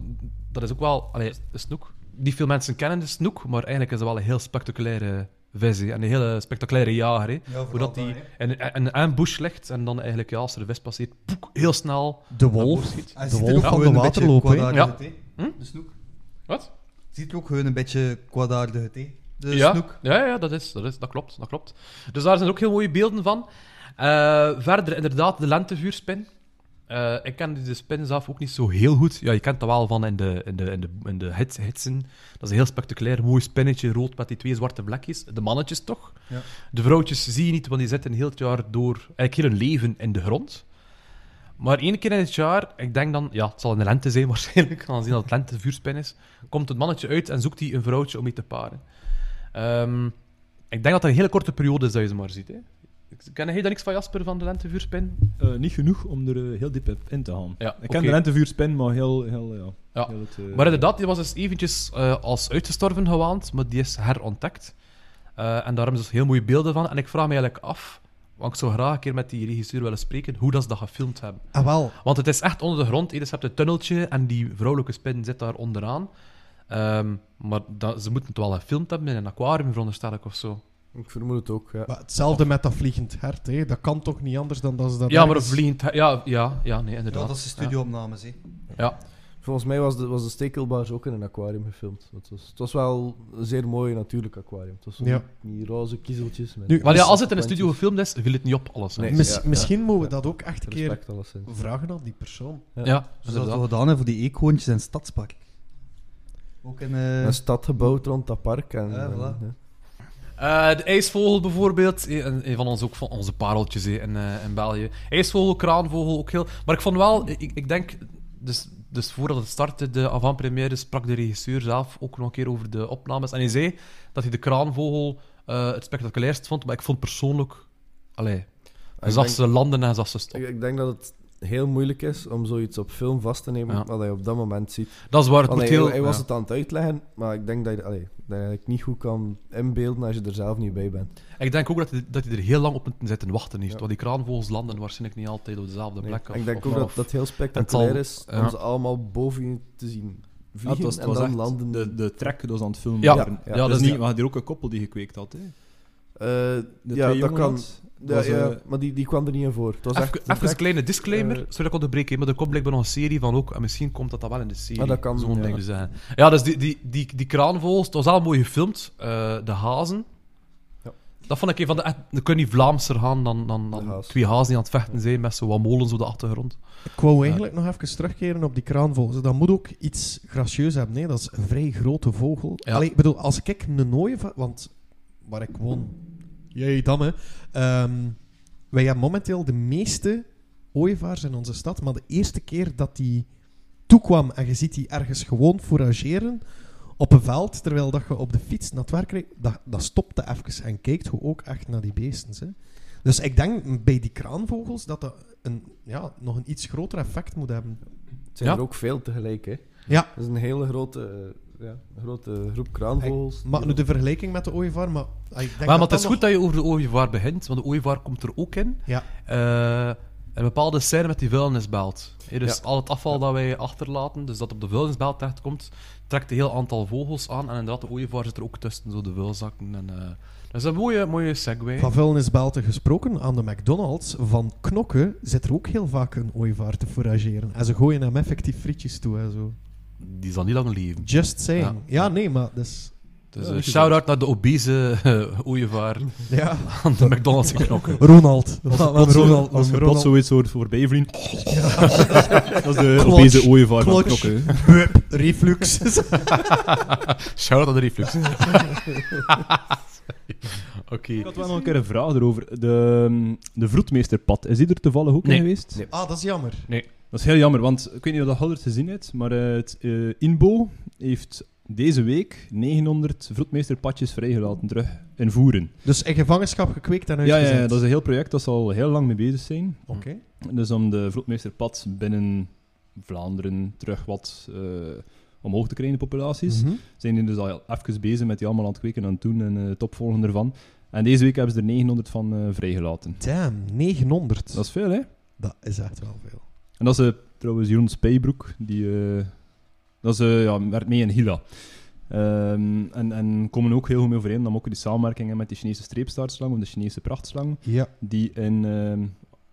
A: dat is ook wel... Allee, de snoek. Niet veel mensen kennen de snoek, maar eigenlijk is dat wel een heel spectaculaire visie. En een hele spectaculaire jager. Hè.
D: vooral
A: Hoe dat
D: daar,
A: die
D: hè.
A: een, een, een ambush legt en dan eigenlijk, ja, als er een vis passeert, poek, heel snel...
D: De
A: naar boven schiet.
D: Hij
B: De
D: ziet er
B: wolf
D: ook
B: van
D: gewoon
B: de
D: een beetje
B: waterloop, hè?
D: kwaadaardig
A: Ja.
D: uit, hè.
A: Hm?
D: De snoek.
A: Wat?
D: Ziet er ook gewoon een beetje kwaadaardig uit, hè. De
A: ja.
D: snoek.
A: Ja, ja, ja, dat, is, dat, is, dat klopt. Dat klopt. Dus daar zijn ook heel mooie beelden van. Eh, verder, inderdaad, de lentevuurspin. Eh, ik ken de spin zelf ook niet zo heel goed. Ja, je kent dat wel van in de, in de, in de, in de hits, hitsen. Dat is een heel spectaculair, mooi spinnetje, rood met die twee zwarte vlekjes. De mannetjes toch.
D: Ja.
A: De vrouwtjes zie je niet, want die zitten heel het jaar door... Eigenlijk heel hun leven in de grond. Maar één keer in het jaar, ik denk dan... Ja, het zal in de lente zijn waarschijnlijk, aangezien dat het lentevuurspin is. Komt het mannetje uit en zoekt hij een vrouwtje om mee te paren. Ehm, ik denk dat dat een hele korte periode is dat je ze maar ziet. Hè? Ik- Ken jij daar niks van Jasper van de lentevuurspin?
C: Eh, niet genoeg om er eh, heel diep op in te gaan.
A: Ja,
C: ik ken
A: oké.
C: de lentevuurspin, maar heel... heel ja,
A: Ja,
C: heel het, eh,
A: Maar inderdaad, die was dus eventjes eh, als uitgestorven gewaand, maar die is herontdekt. Eh, en daar hebben ze dus heel mooie beelden van. En ik vraag me eigenlijk af, want ik zou graag een keer met die regisseur willen spreken, hoe dat ze dat gefilmd hebben.
B: Ah, wel.
A: Want het is echt onder de grond. Hier is- je hebt een tunneltje en die vrouwelijke spin zit daar onderaan. Ehm, maar dat, ze moeten het wel gefilmd hebben in een aquarium, veronderstel ik, of zo.
E: Ik vermoed het ook, ja.
B: Maar hetzelfde met dat vliegend hert, hè. Dat kan toch niet anders dan dat ze dat...
A: Ja, maar een
B: ergens-
A: vliegend... he- Ja, ja, ja, nee, inderdaad.
D: Ja, dat is de studioopnames, hè. Dus
E: Volgens mij was de, was de stekelbaars ook in een aquarium gefilmd. Het was, het was wel een zeer mooi natuurlijk aquarium. Het was zo
B: Ja.
E: die, die roze kiezeltjes. Met
B: Nu,
A: Maar ja,
B: mis-
A: als het in een studio gefilmd is, viel het niet op, alles. hè.
E: Nee.
B: mis-
E: Ja, ja.
B: misschien moeten we dat ook echt een keer
E: Respect alleszins.
B: vragen aan die persoon.
A: Ja,
D: Zoals dat we
A: inderdaad.
D: gedaan hebben voor die eekhoorntjes in het Stadspark. Ook in... eh,
E: Een stad gebouwd rond dat park. En,
D: Ja, voilà.
E: en,
A: Eh, de ijsvogel bijvoorbeeld, eh, een, een van onze, ook van onze pareltjes eh, in, eh, in België. Ijsvogel, kraanvogel, ook heel... Maar ik vond wel, ik, ik denk... Dus, dus voordat het startte, de avant-première, sprak de regisseur zelf ook nog een keer over de opnames. En hij zei dat hij de kraanvogel eh, het spectaculairst vond, maar ik vond persoonlijk... Allee, hij
E: ik
A: zag
E: denk-
A: ze landen en hij zag ze stoppen.
E: Ik, ik denk dat het heel moeilijk is om zoiets op film vast te nemen
A: Ja.
E: wat hij op dat moment ziet.
A: Dat is waar het
E: Want
A: moet
E: hij,
A: heel...
E: hij was
A: ja.
E: het aan het uitleggen, maar ik denk dat je, allee, dat je eigenlijk niet goed kan inbeelden als je er zelf niet bij bent.
A: Ik denk ook dat hij, dat hij er heel lang op moet zitten wachten heeft,
E: Ja.
A: want die kraanvogels landen waarschijnlijk niet altijd op dezelfde
E: Nee.
A: plek.
E: En ik denk
A: of-
E: ook dat
A: of-
E: dat heel spectaculair
A: zal-
E: is
A: ja. Ah,
E: om ze allemaal boven je te zien
C: ja, het
E: vliegen
C: was, het
E: en
C: was
E: dan
C: echt
E: landen.
C: De, de track dat was aan het filmen
A: Ja.
C: waren.
E: Ja,
A: ja,
C: dat
A: dat
C: is
A: is-
C: niet,
A: ja.
C: we hadden hier ook een koppel die gekweekt had. Hè.
E: Eh,
C: De
E: ja,
C: twee
E: dat
C: jongen
E: kan.
C: had.
E: Ja,
C: was,
E: ja,
C: eh,
E: maar die, die kwam er niet in voor. Het was echt
A: Even,
E: een
A: even een
E: track,
A: kleine disclaimer,
E: eh,
A: sorry dat ik onderbreken, maar er komt blijkbaar nog een serie van ook, en misschien komt dat dan wel in de serie.
E: Ah, dat kan,
A: Zo'n
E: ja.
A: ding zijn. Ja, dus die, die, die, die kraanvogels, het was al mooi gefilmd, eh, de hazen.
E: Ja.
A: Dat vond ik een van de... echt- Dan kun je niet Vlaamser gaan dan, dan,
E: De
A: dan
E: haas.
A: twee hazen die aan het vechten zijn met zo wat molens op de achtergrond.
B: Ik wou eigenlijk nog even terugkeren op die kraanvogels. Dat moet ook iets gracieus hebben. Nee, dat is een vrij grote vogel.
A: Ja.
B: Allee, ik bedoel, als ik een nooi van... Want waar ik woon... Jee, damme. Ehm, wij hebben momenteel de meeste ooievaars in onze stad. Maar de eerste keer dat die toekwam en je ziet die ergens gewoon forageren op een veld, terwijl dat je op de fiets naar het werk rijdt, dat, dat stopte even en kijkt hoe ook echt naar die beesten. Hè. Dus ik denk bij die kraanvogels dat dat een, ja, nog een iets groter effect moet hebben.
E: Het zijn
A: Ja.
E: er ook veel tegelijk, hè.
B: Ja.
E: Dat is een hele grote, eh, ja, een grote groep kraanvogels.
B: Maar nu de vergelijking met de ooievaar, maar ah, ik
A: maar
B: denk dat
A: maar het is
B: dat
A: goed dat je over de ooievaar begint, want de ooievaar komt er ook in.
B: Ja.
A: Eh, een bepaalde scène met die vuilnisbelt. Hè, dus
E: Ja.
A: al het afval dat wij achterlaten, dus dat op de vuilnisbelt terechtkomt, trekt een heel aantal vogels aan. En inderdaad, de ooievaar zit er ook tussen, zo de vuilzakken. En, eh, dat is een mooie, mooie segue.
B: nog- Van vuilnisbelten gesproken, aan de McDonald's van knokken zit er ook heel vaak een ooievaar te forageren. En ze gooien hem effectief frietjes toe en zo.
A: Die zal niet lang leven.
B: Just saying. Ja,
A: Ja.
B: nee, maar dus...
A: Dus eh, shout-out naar de obese eh, ooievaar
B: Ja,
A: aan de McDonald's in knokken.
B: Ronald.
C: Als je
B: Laat
C: plots
B: maar
C: zo- als
B: laat
C: je
B: maar
C: plots zoiets hoort voorbij vriend. dat is de
B: Klotsch,
C: obese ooievaar van
B: klotsch.
C: knokken. hè.
B: Hup, reflux.
A: Shout-out aan de reflux. Oké.
C: Ik had wel nog een keer een vraag erover. De, ehm, de vroedmeesterpad, is die er toevallig ook
A: Nee.
C: in geweest?
E: Nee.
B: ah, dat is jammer.
C: Dat is heel jammer, want ik weet niet of dat Hollert gezien heeft, maar eh, het eh, Inbo heeft deze week 900 vroedmeesterpadjes vrijgelaten terug in voeren.
B: Dus in gevangenschap gekweekt en
C: Ja, ja,
B: uitgezet.
C: ja, dat is een heel project dat ze al heel lang mee bezig zijn.
B: Oké.
C: Dus om de vloedmeesterpad binnen Vlaanderen terug wat eh, omhoog te krijgen, de populaties.
B: Mhm.
C: Zijn die dus al even bezig met die allemaal aan het kweken en aan het doen en eh topvolgen ervan. En deze week hebben ze er 900 van eh, vrijgelaten.
B: Damn, 900.
C: Dat is veel, hè?
B: Dat is echt wel veel.
C: En dat is eh, trouwens Jeroen Spijbroek, die eh, dat is, eh, ja, werd mee in Hila. Ehm, en, en komen ook heel goed mee overeen, dan ook die samenwerkingen met die Chinese streepstaartslang, of de Chinese prachtslang,
B: Ja.
C: die in, ehm,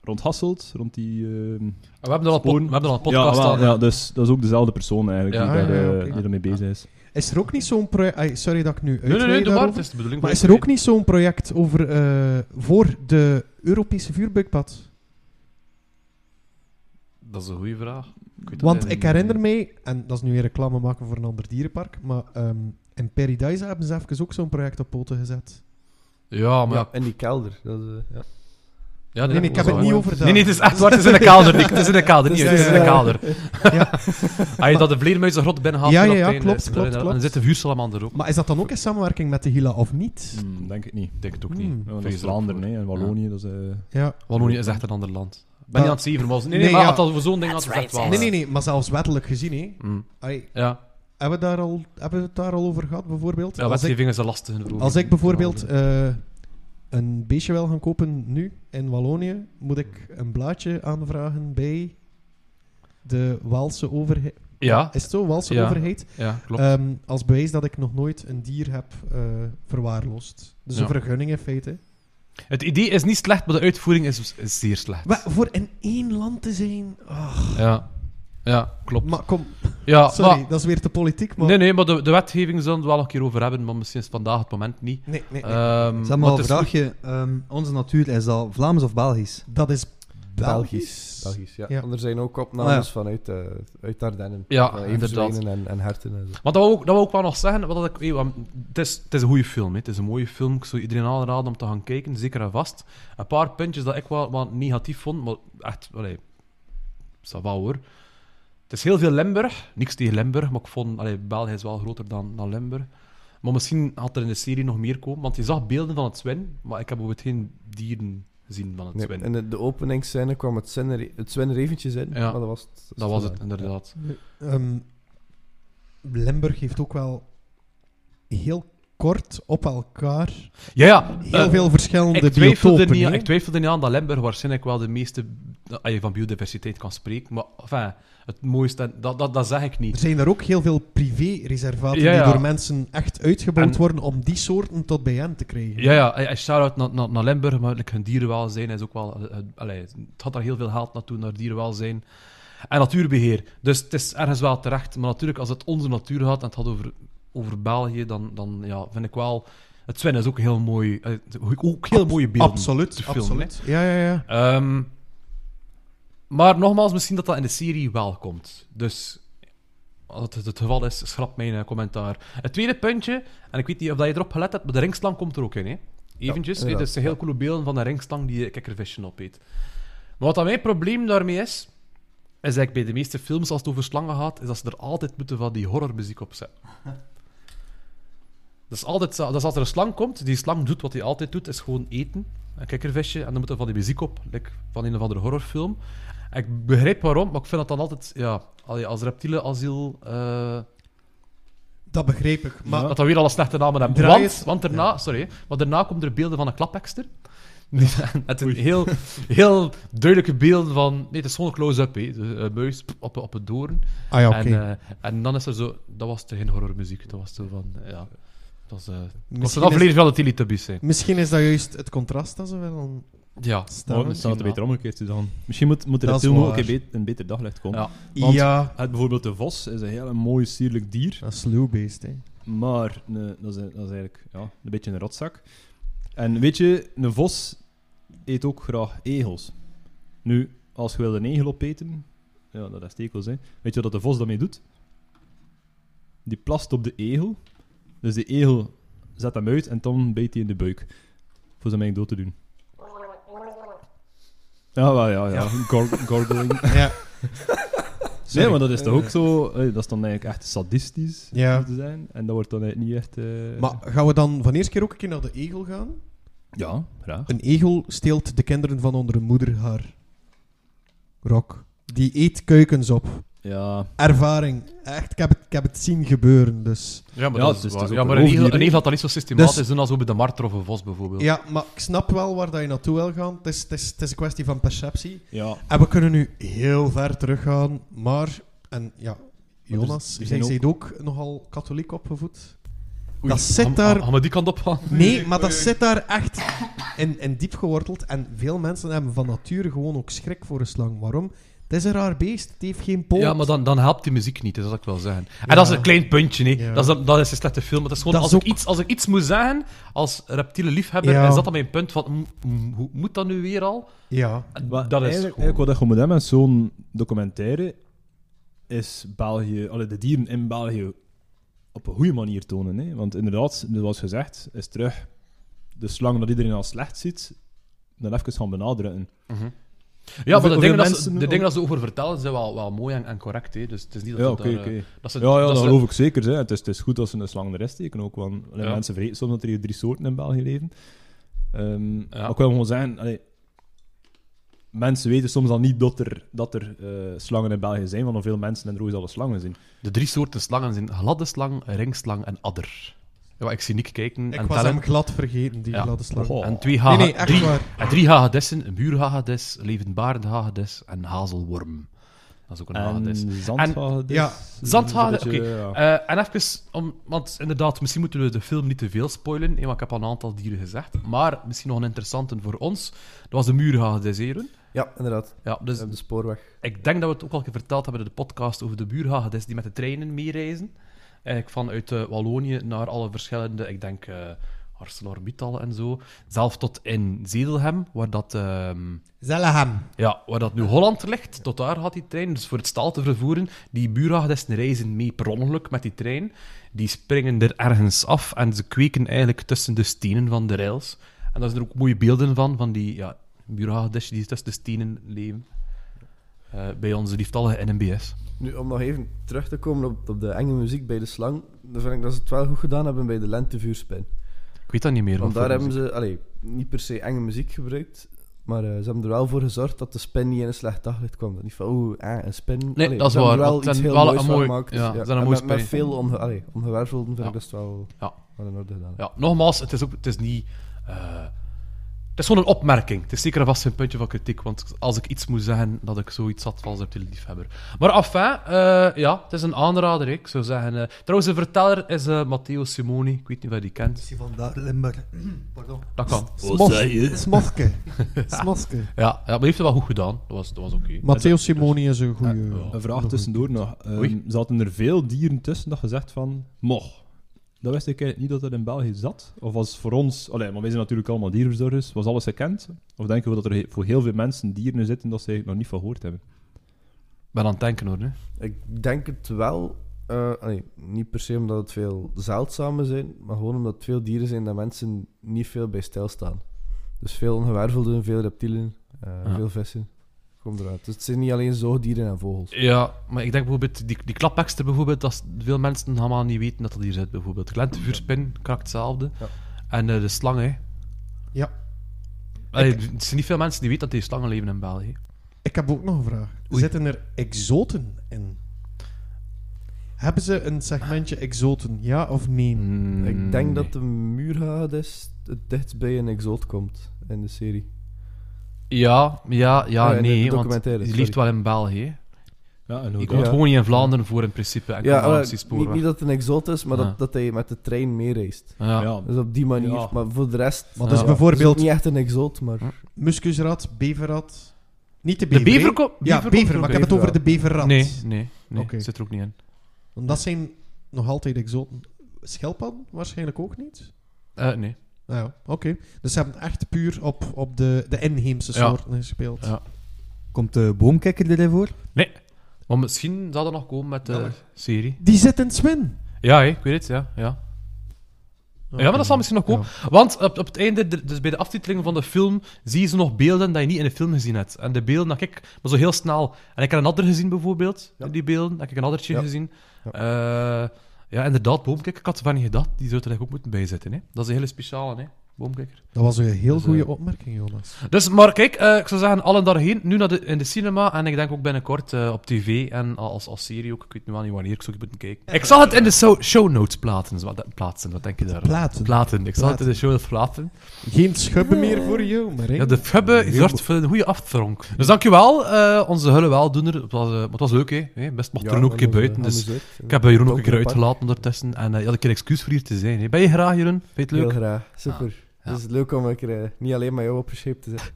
C: rond Hasselt, rond die... ehm,
A: We hebben er al, een pod-
C: Sporen.
A: we hebben er al een podcast
C: ja, wel,
A: aan.
C: ja, dus dat is ook dezelfde persoon eigenlijk
A: Ja.
C: die, daar,
B: Ah, ja,
C: eh,
B: oké.
C: die daarmee bezig is.
B: Is er ook niet zo'n project... ai, sorry dat ik nu
A: Nee, nee, nee,
B: uitweid
A: doe maar.
B: daarover.
A: Het is de bedoeling.
B: Maar
A: van
B: is er
A: het
B: ook niet zo'n project over, eh, voor de Europese vuurbuikpad?
A: idee. Dat is een goede vraag. Ik weet het
B: Want
A: eigenlijk
B: ik herinner mij, en dat is nu weer reclame maken voor een ander dierenpark, maar ehm, in Paradise hebben ze even ook zo'n project op poten gezet.
A: niet. Ja, maar ja.
E: Ja, in die kelder. Dat, eh, ja.
A: ja
B: Nee, nee, ik heb het niet over dat.
A: Nee, nee, het is echt waar. Het is in de kelder, Nick. Het is in de kelder.
B: Het is,
A: niet, het is in de
B: eh,
A: kelder.
B: ja.
A: Als je dat de vleermuis de grot binnen haalt...
B: Ja,
A: en
B: ja,
A: dat
B: ja,
A: het einde
B: klopt,
A: is,
B: klopt,
A: dan-
B: klopt.
A: Dan zit de vuurslammander ook.
B: Maar is dat dan ook in samenwerking met de Hila of niet?
A: Mm.
C: Hmm, denk ik niet.
A: Ik denk het ook
B: Hmm.
A: niet.
B: Ja,
C: Ja, dat
A: Vrees
C: is
A: er ook
C: Vlaanderen
A: voor.
C: hè, en Wallonië, dat is... eh,
B: Ja.
A: Wallonië is echt een ander land. Ik ben
B: Ah.
A: niet aan het zeven, maar... Nee, nee,
B: Nee,
A: maar
B: ja.
A: had dat voor zo'n ding had het echt wel...
B: Nee, nee, nee, maar zelfs wettelijk gezien, hè.
A: Mm.
B: Ai,
A: Ja,
B: hebben, we daar al, hebben we het daar al over gehad, bijvoorbeeld?
A: ja
B: als, ik,
A: wetgeving is er lastig in
B: als ik bijvoorbeeld eh, een beestje wil gaan kopen nu in Wallonië, moet ik een blaadje aanvragen bij de Waalse overheid.
A: Ja,
B: Is het zo? Waalse
A: Ja.
B: overheid?
A: ja, klopt.
B: Ehm, als bewijs dat ik nog nooit een dier heb eh, verwaarloosd. Dus
A: Ja.
B: een vergunning in feite.
A: Het idee is niet slecht, maar de uitvoering is, is zeer slecht.
B: Maar voor in één land te zijn. ah.
A: Ja. Ja, klopt.
B: Maar kom,
A: ja,
B: sorry,
A: maar-
B: dat is weer te politiek. Maar...
A: Ah, Nee, nee, maar de, de wetgeving zullen we het wel een keer over hebben, maar misschien is het vandaag het moment niet.
B: nee, nee, nee.
A: Ehm,
D: Zeg
A: maar
D: maar
A: het
D: een
A: is
D: vraagje. ehm, onze natuur, is dat Vlaams of Belgisch?
B: Dat is Belgisch.
E: Belgisch. Belgisch, ja.
B: Ja.
E: En er zijn ook opnames
D: Ah, ja.
E: vanuit, eh uit Ardennen.
A: Ja,
E: Van
A: inderdaad.
E: everzwijnen En, en herten en zo.
A: Maar dat wil, ik- dat wil ik wel nog zeggen. Wat ik, eh, want het, is, het is een goede film. hè. Het is een mooie film. Ik zou iedereen aanraden om te gaan kijken, zeker en vast. Een paar puntjes dat ik wel, wel negatief vond, maar echt, allee, ça va hoor. Het is heel veel Limburg. Niks tegen Limburg, maar ik vond, allee, België is wel groter dan, dan Limburg. Maar misschien had er in de serie nog meer komen, want je zag beelden van het zwin, maar ik heb bijvoorbeeld geen dieren gezien van het
E: Nee,
A: zwin.
E: en de, de openingsscène kwam het Sven, het Sven Reventjes in,
A: Ja.
E: maar dat was het. is
A: Dat was het,
E: gedaan. Ja.
A: inderdaad.
B: Ehm, Limburg heeft ook wel heel kort op elkaar
A: Ja, ja.
B: heel
A: eh,
B: veel verschillende
A: ik twijfelde,
B: biotopen.
A: niet,
B: hè.
A: ik twijfelde niet aan dat Limburg waarschijnlijk wel de meeste als je van biodiversiteit kan spreken. Maar enfin, het mooiste, en- dat, dat, dat zeg ik
B: Er
A: niet.
B: zijn er ook heel veel privé-reservaten
A: Ja, ja.
B: die door mensen echt uitgebouwd
A: En-
B: worden om die soorten tot bij hen te krijgen.
A: Ja, ja, en- en shout-out naar, naar, naar Limburg, maar like, hun dierenwelzijn is ook wel... eh, eh, allee, het had daar heel veel geld naartoe, naar dierenwelzijn. En natuurbeheer. Dus het is ergens wel terecht. Maar natuurlijk, als het onze natuur gaat en het gaat over, over België, dan, dan ja, vind ik wel... Het Sven is ook heel mooi... eh, Ook heel mooie beelden.
B: Absoluut,
A: te filmen,
B: absoluut. Ja, ja, ja.
A: Ehm, maar nogmaals, misschien dat dat in de serie wel komt. Dus als het het geval is, schrap mijn eh, commentaar. Het tweede puntje, en ik weet niet of dat je erop gelet hebt, maar de ringslang komt er ook in. Hè? Eventjes, hè?
E: inderdaad,
A: dus de heel coole beelden van de ringslang die eh, kikkervisje opeet. Maar wat dan mijn probleem daarmee is, is dat ik bij de meeste films, als het over slangen gaat, is dat ze er altijd moeten van die horrormuziek op zetten. Dat is altijd zo. Dat is als er een slang komt, die slang doet wat hij altijd doet, is gewoon eten. Een kikkervisje, en dan moet er van die muziek op, like van een of andere horrorfilm. En ik begrijp waarom, maar ik vind dat dan altijd, ja, allee, als reptielenasiel, eh
B: Dat begreep ik. Maar
A: dat dat weer al een slechte naam heeft.
B: Draai
A: Want,
B: het-
A: want daarna, sorry, maar daarna komen er beelden van een klapekster. Die- Met een heel, heel duidelijke beelden van, nee, het is gewoon een close-up, hè. Dus, eh, muis pop, op, op het doorn.
B: ah ja, oké.
A: En, eh, en dan is er zo, dat was er geen horrormuziek, dat was zo van, ja, dat was, eh het was
B: Misschien
A: een
B: is-
A: aflevering van de Teletubbies zijn.
B: Misschien is dat juist het contrast dat ze wel aan
A: Ja.
C: Oh,
B: staan.
C: dan staat het
A: wel.
C: beter omgekeerd te doen. Misschien moet, moet er
B: Dat
C: het
B: is
C: film ook
B: waar.
C: een, be- een beter daglicht komen.
A: Ja.
C: Want
B: ja,
C: het, bijvoorbeeld de vos is een heel mooi, sierlijk dier.
B: dat is slowbeest, hè.
C: Maar een- dat, is, dat is eigenlijk ja, een beetje een rotzak. En weet je, een vos eet ook graag egels. Nu, als je wil een egel opeten, ja, dat is stekels, hè. Weet je wat de vos daarmee doet? Die plast op de egel. Dus de egel zet hem uit en dan bijt hij in de buik. Voor zijn mij dood te doen. Ja, wel, ja, ja. Gor- gorgeling.
B: Ja.
C: Nee, maar dat is toch ook zo... eh, dat is dan eigenlijk echt sadistisch om
B: Ja.
C: te zijn. En dat wordt dan eigenlijk niet echt... eh,
B: Maar gaan we dan van eerste keer ook een keer naar de egel gaan?
C: Ja, graag.
B: Een egel steelt de kinderen van onder hun moeder haar rok. Die eet kuikens op.
C: Ja,
B: Ervaring. Echt, ik heb het, ik heb het zien gebeuren, dus...
A: Ja, maar,
C: Ja,
A: dat is
C: het is
A: waar.
C: dus ook
A: ja, maar
C: een
A: een egel,
C: roofdier,
A: een
C: hè?
A: egel had dat niet zo systematisch
B: Dus-
A: doen als bij de marter of een vos bijvoorbeeld.
B: Ja, maar ik snap wel waar dat je naartoe wil gaan. Het is, het, is, het is een kwestie van perceptie.
C: ja.
B: En we kunnen nu heel ver teruggaan, maar... En ja, Jonas,
C: er- er
B: jij
C: zijn ook-
B: bent ook nogal katholiek opgevoed.
A: Oei,
B: dat zit
A: gaan-
B: daar-
A: Gaan we die kant op gaan?
B: Nee, maar dat zit daar echt in, in diep geworteld. En veel mensen hebben van nature gewoon ook schrik voor een slang. Waarom? Het is een raar beest, het heeft geen poot.
A: Ja, maar dan, dan helpt die muziek niet, dat zal ik wel zeggen. En dat is een klein puntje, nee.
B: Ja.
A: Dat, is, dat is een slechte film. maar Dat is gewoon,
B: Dat is
A: als, ik
B: ook-
A: iets, als ik iets moet zeggen, als reptiele liefhebber,
B: Ja.
A: is dat dan mijn punt van, m- m- hoe moet dat nu weer al?
B: Ja.
C: Maar
A: dat is
C: eigenlijk,
A: gewoon...
C: eigenlijk wat je moet hebben met zo'n documentaire is België, allee, de dieren in België op een goede manier tonen. Hè? Want inderdaad, zoals gezegd, is terug de slang dat iedereen als slecht ziet, dan even gaan benadrukken.
A: Ja, maar de
C: Hoeveel-
A: dingen, dat
C: hoeveel
A: ze,
C: mensen-
A: de dingen dat ze over vertellen zijn wel, wel mooi en, en correct. Hè. Dus het is niet dat
C: Ja,
A: het
C: oké,
A: daar,
C: oké.
A: eh, dat ze,
C: Ja, ja, dat
A: ze-
C: geloof ik zeker. Hè. Het, is, het is goed dat ze een slang de rest tekenen ook, want allee,
A: Ja.
C: mensen vergeten soms dat er hier drie soorten in België leven. Ehm,
A: Ja.
C: Maar ik wil gewoon zeggen, allee, mensen weten soms al niet dat er, dat er eh, slangen in België zijn, want hoeveel mensen in Roos alle slangen zien.
A: De drie soorten slangen zijn gladde slang, ringslang en adder. Ja, ik zie Nick kijken
B: Ik
A: en
B: was hem
A: tellen.
B: glad vergeten, die
A: Ja.
B: gladde slang.
C: Goh.
A: En twee,
B: Nee,
A: haha,
B: nee, echt
A: drie,
B: waar.
A: en drie hagedissen, een buurhagedis, levendbarend hagedis en hazelworm. Dat is ook een hagedis.
C: En zandhagen dus.
B: ja,
C: Zo'n
A: zandhagen,
C: beetje,
A: oké.
C: ja.
A: Eh, en even, om, want inderdaad, misschien moeten we de film niet te veel spoilen, eh, want ik heb al een aantal dieren gezegd. Maar misschien nog een interessante voor ons. Dat was de muurhagedis, hè, Jeroen?
E: Ja, inderdaad.
A: Ja, dus
E: Eh, De spoorweg.
A: ik denk dat we het ook al een keer verteld hebben in de podcast over de buurhagedis die met de treinen meereizen. Eigenlijk vanuit eh, Wallonië naar alle verschillende, ik denk eh ArcelorMittal en zo. Zelf tot in Zedelhem, waar dat... ehm,
B: Zellehem.
A: ja, waar dat nu Holland ligt, tot daar gaat die trein. Dus voor het staal te vervoeren, die buurhagedissen reizen mee per ongeluk met die trein. Die springen er ergens af en ze kweken eigenlijk tussen de stenen van de rails. En daar zijn er ook mooie beelden van, van die ja, buurhagedissen die tussen de stenen leven. Eh, bij onze lieftallige NMBS.
E: Nu, om nog even terug te komen op, op de enge muziek bij de slang, dan vind ik dat ze het wel goed gedaan hebben bij de lentevuurspin.
A: Ik weet dat niet meer.
E: Want
A: wat
E: daar
A: voor
E: hebben ze allee, niet per se enge muziek gebruikt, maar eh, ze hebben er wel voor gezorgd dat de spin niet in een slecht daglicht kwam. Dat niet van, oeh, eh, een spin.
A: Nee,
E: Allee,
A: dat is
E: ze hebben
A: waar,
E: er wel
A: want het
E: iets
A: zijn wel
E: heel moois
A: een
E: van
A: mooi-
E: gemaakt. dus
A: ja, het zijn een
E: En
A: mooie
E: met, met
A: spin.
E: veel onge, allee, ongewervelden vind
A: Ja.
E: ik dat wel
A: Ja.
E: wel in orde gedaan.
A: Ja, nogmaals, het is, ook, het is niet. eh, het is gewoon een opmerking. Het is zeker en vast een puntje van kritiek. Want als ik iets moet zeggen, dat ik zoiets had van als reptiele liefhebber. Maar enfin, eh, ja, het is een aanrader. hè. Ik zou zeggen. eh, trouwens, de verteller is eh, Matteo Simoni. Ik weet niet of je die kent.
D: Misschien vandaar Limburg. Pardon.
A: Dat kan.
B: Smofke. Smofke.
A: Ja, ja, maar hij heeft het wel goed gedaan. Dat was, dat was oké.
B: Matteo Simoni is een goede.
C: dus- Een vraag tussendoor nog. Ehm,
A: Oei.
C: zaten er veel dieren tussen dat gezegd van, moch. Dat wist ik eigenlijk niet dat dat in België zat. Of was voor ons, allee, maar wij zijn natuurlijk allemaal dierverzorgers, was alles gekend? Of denken we dat er he- voor heel veel mensen dieren zitten dat ze eigenlijk nog niet van gehoord hebben?
A: Ik ben aan het denken hoor. Hè.
E: Ik denk het wel. eh, allee, niet per se omdat het veel zeldzame zijn, maar gewoon omdat het veel dieren zijn dat mensen niet veel bij stilstaan. Dus veel ongewervelden, veel reptielen, eh,
A: Ja.
E: veel vissen. Kom eruit. Dus het zijn niet alleen zoogdieren en vogels.
A: Ja, maar ik denk bijvoorbeeld die, die klapekster bijvoorbeeld, dat is- veel mensen helemaal niet weten dat dat hier zit bijvoorbeeld. De lentevuurspin, kraakt hetzelfde.
E: Ja.
A: En eh, de slang, hè.
B: Ja.
A: Allee, Er zijn niet veel mensen die weten dat die slangen leven in België.
B: Ik heb ook nog een vraag.
A: Oei.
B: Zitten er exoten in? Hebben ze een segmentje exoten, ja of nee?
C: Hmm.
A: Mm, Hmm.
E: Ik denk dat de muurhagedis het dichtst bij een exoot komt in de serie.
A: Ja, ja, ja,
E: Ah, in de
A: nee, want
E: documentaire,
A: die
E: sorry.
A: leeft wel in België.
C: Ja, en hoe
A: Ik
C: dat-
A: kom
E: Ja.
A: gewoon niet in Vlaanderen voor, in principe. En
E: Ja,
A: ja,
E: maar
A: uh,
E: niet, niet dat het een exoot is, maar
A: Ja.
E: dat, dat hij met de trein meereist.
A: ja.
C: Ja.
E: Dus op die manier.
C: Ja.
E: Maar voor de rest...
D: Dus
B: Want dat is
A: Ja.
E: Bijvoorbeeld...
B: bijvoorbeeld
E: niet echt een exoot, maar...
B: muskusrat, beverrat. Niet de
A: De
B: bever.
A: bever
B: hè?
A: komt...
B: Ja, bever, maar ik heb het over de beverrat.
A: Nee, nee, nee.
B: Oké.
A: Zit er ook niet in.
B: Want dat zijn nog altijd exoten. Schelpan waarschijnlijk ook niet.
A: Eh, nee.
B: Nou ja, oké. Dus ze hebben echt puur op, op de, de inheemse
A: Ja.
B: soorten gespeeld.
A: Ja.
D: Komt de boomkikker erin voor?
A: Maar misschien zal dat nog komen met de
B: Jammer.
A: serie.
B: Die zit in Swin.
A: Ja, hè, ik weet het, ja. ja. Ja, maar dat zal misschien nog komen. Want op, op het einde, d- dus bij de aftiteling van de film, zie je ze nog beelden dat je niet in de film gezien hebt. En de beelden dat ik, maar zo heel snel. En ik heb een adder gezien bijvoorbeeld,
E: Ja.
A: in die beelden. Heb ik een addertje
E: Ja.
A: gezien. Ja. ja, inderdaad, boomkikker. Ik had er van niet gedacht. Die zou er eigenlijk ook moeten bijzetten. Hè? Dat is een hele speciale, hè? boomkikker.
B: Dat was een heel
A: Dus, eh,
B: goede opmerking, Jonas.
A: Dus, maar kijk, eh, ik zou zeggen, allen daarheen. Nu naar de, in de cinema en ik denk ook binnenkort eh, op tv en als, als serie ook. Ik weet nu al niet wanneer, ik zou het moeten kijken. Ik zal het in de so- show notes plaatsen. Zo- dat- plaatsen. Wat denk je daar?
B: Platen.
A: Platen. Ik zal het in de
B: Platen.
A: show notes plaatsen.
B: Geen schubben meer voor jou, maar
A: Ja, de fubbe zorgt voor een goede aftronk. Dus dankjewel, eh onze hulle weldoener. Het was, eh, maar het was leuk, hè. Hè, Best mocht er ook een keer buiten. Dus ik heb eh, Jeroen ook een keer uitgelaten ondertussen. En eh, je had een keer excuus voor hier te zijn. Hè. Ben je graag, Jeroen? Vind je het leuk?
E: Heel graag, super.
A: ja.
E: Het is leuk om een keer eh, niet alleen met jou op scheep te zijn.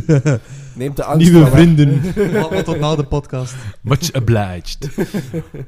E: Dus, eh, Neemt de angst
D: Nieuwe
E: wel weg.
D: vrienden. Allemaal tot na de podcast.
A: Much obliged. Oké,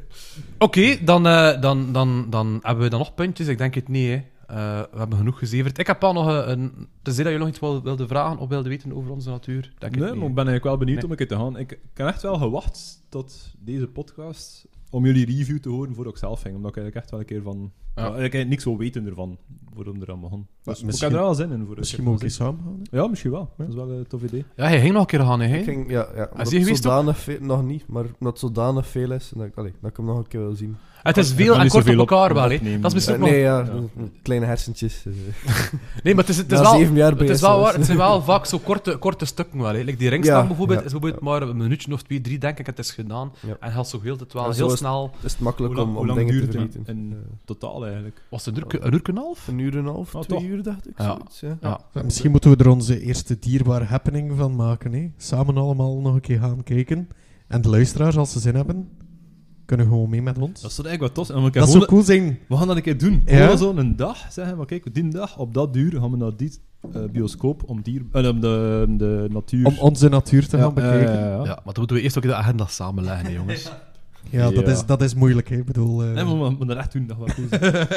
A: dan, eh, dan, dan, dan hebben we dan nog puntjes. Ik denk het niet, hè. Eh, we hebben genoeg gezeverd. Ik heb al nog eh, een... Tenzij dat je nog iets wil- wilde vragen of wilde weten over onze natuur. Denk ik
C: Nee,
A: niet,
C: maar ik
A: hè.
C: ben eigenlijk wel benieuwd
A: Nee.
C: om een keer te gaan. Ik, ik heb echt wel gewacht tot deze podcast om jullie review te horen voordat ik zelf ging. Omdat ik eigenlijk echt wel een keer van...
A: Ja.
C: Ja. ik eigenlijk niks wil weten ervan, waarom er aan begon. Dus ik
B: misschien-
C: heb er wel zin in voor.
B: Misschien
C: Ik heb
B: mogen we
C: wel
B: eens samen gaan.
C: zin- Ja, misschien wel. Dat is wel een tof idee.
A: Ja, hij ging nog een keer gaan, hè.
E: Ik ging, ja, ja. omdat
A: je geweest
E: zodanig veel, nog niet, maar omdat het zodanig veel is, en dat, ik- allee, dat ik hem nog een keer wil zien.
A: Het is
C: Ik
A: veel
C: kan
A: en
C: niet
A: kort op
C: zoveel op-
A: elkaar wel, hè.
C: opnemen.
A: Dat is misschien
E: Eh,
A: ook nog-
E: nee, ja, mm,
C: Ja.
E: kleine hersentjes. dus, eh.
A: Nee, maar het is, het is
E: Na
A: wel...
E: zeven jaar bij
A: Het is wel
E: SOS.
A: waar, het zijn wel vaak zo korte, korte stukken wel. hè. Like die ringstaan
E: Ja,
A: bijvoorbeeld,
E: ja,
A: is bijvoorbeeld maar een minuutje of twee, drie, denk ik, het is gedaan.
E: Ja.
A: En gaat zo heel het wel
E: Ja, zo
A: heel
E: is-
A: snel...
E: is het makkelijk
C: Hoe lang,
E: om,
C: hoe
E: om
C: lang
E: dingen te
C: duurt het
E: vergeten.
C: in, in totaal eigenlijk?
A: Was het een uur, een uur en een half?
E: Een uur en een half,
C: Oh,
E: twee
C: toch.
E: uur dacht ik,
A: Ja.
E: zoiets. Ja.
A: Ja.
B: Misschien moeten we er onze eerste dierbare happening van maken. Hè? Samen allemaal nog een keer gaan kijken. En de luisteraars, als ze zin hebben, kunnen gewoon mee met ons.
C: Dat zou eigenlijk wat tof zijn. want ik heb
B: Dat
C: gewoon-
B: zou cool zijn.
C: We gaan dat een keer doen.
B: Ja?
C: Gewoon zo een dag zeggen, maar kijk, die dag, op dat duur, gaan we naar die eh, bioscoop om, dier, eh, om de, de natuur...
B: Om onze natuur te
C: Ja, eh,
B: gaan bekijken.
C: ja, ja,
A: Ja,
C: ja.
A: maar dan moeten we eerst ook de agenda samenleggen, hè, jongens.
B: Ja, dat,
C: Ja.
B: Is, dat is moeilijk. Hè? Ik bedoel, eh,
C: Nee, maar we moeten dat echt doen, dat gaat goed zijn.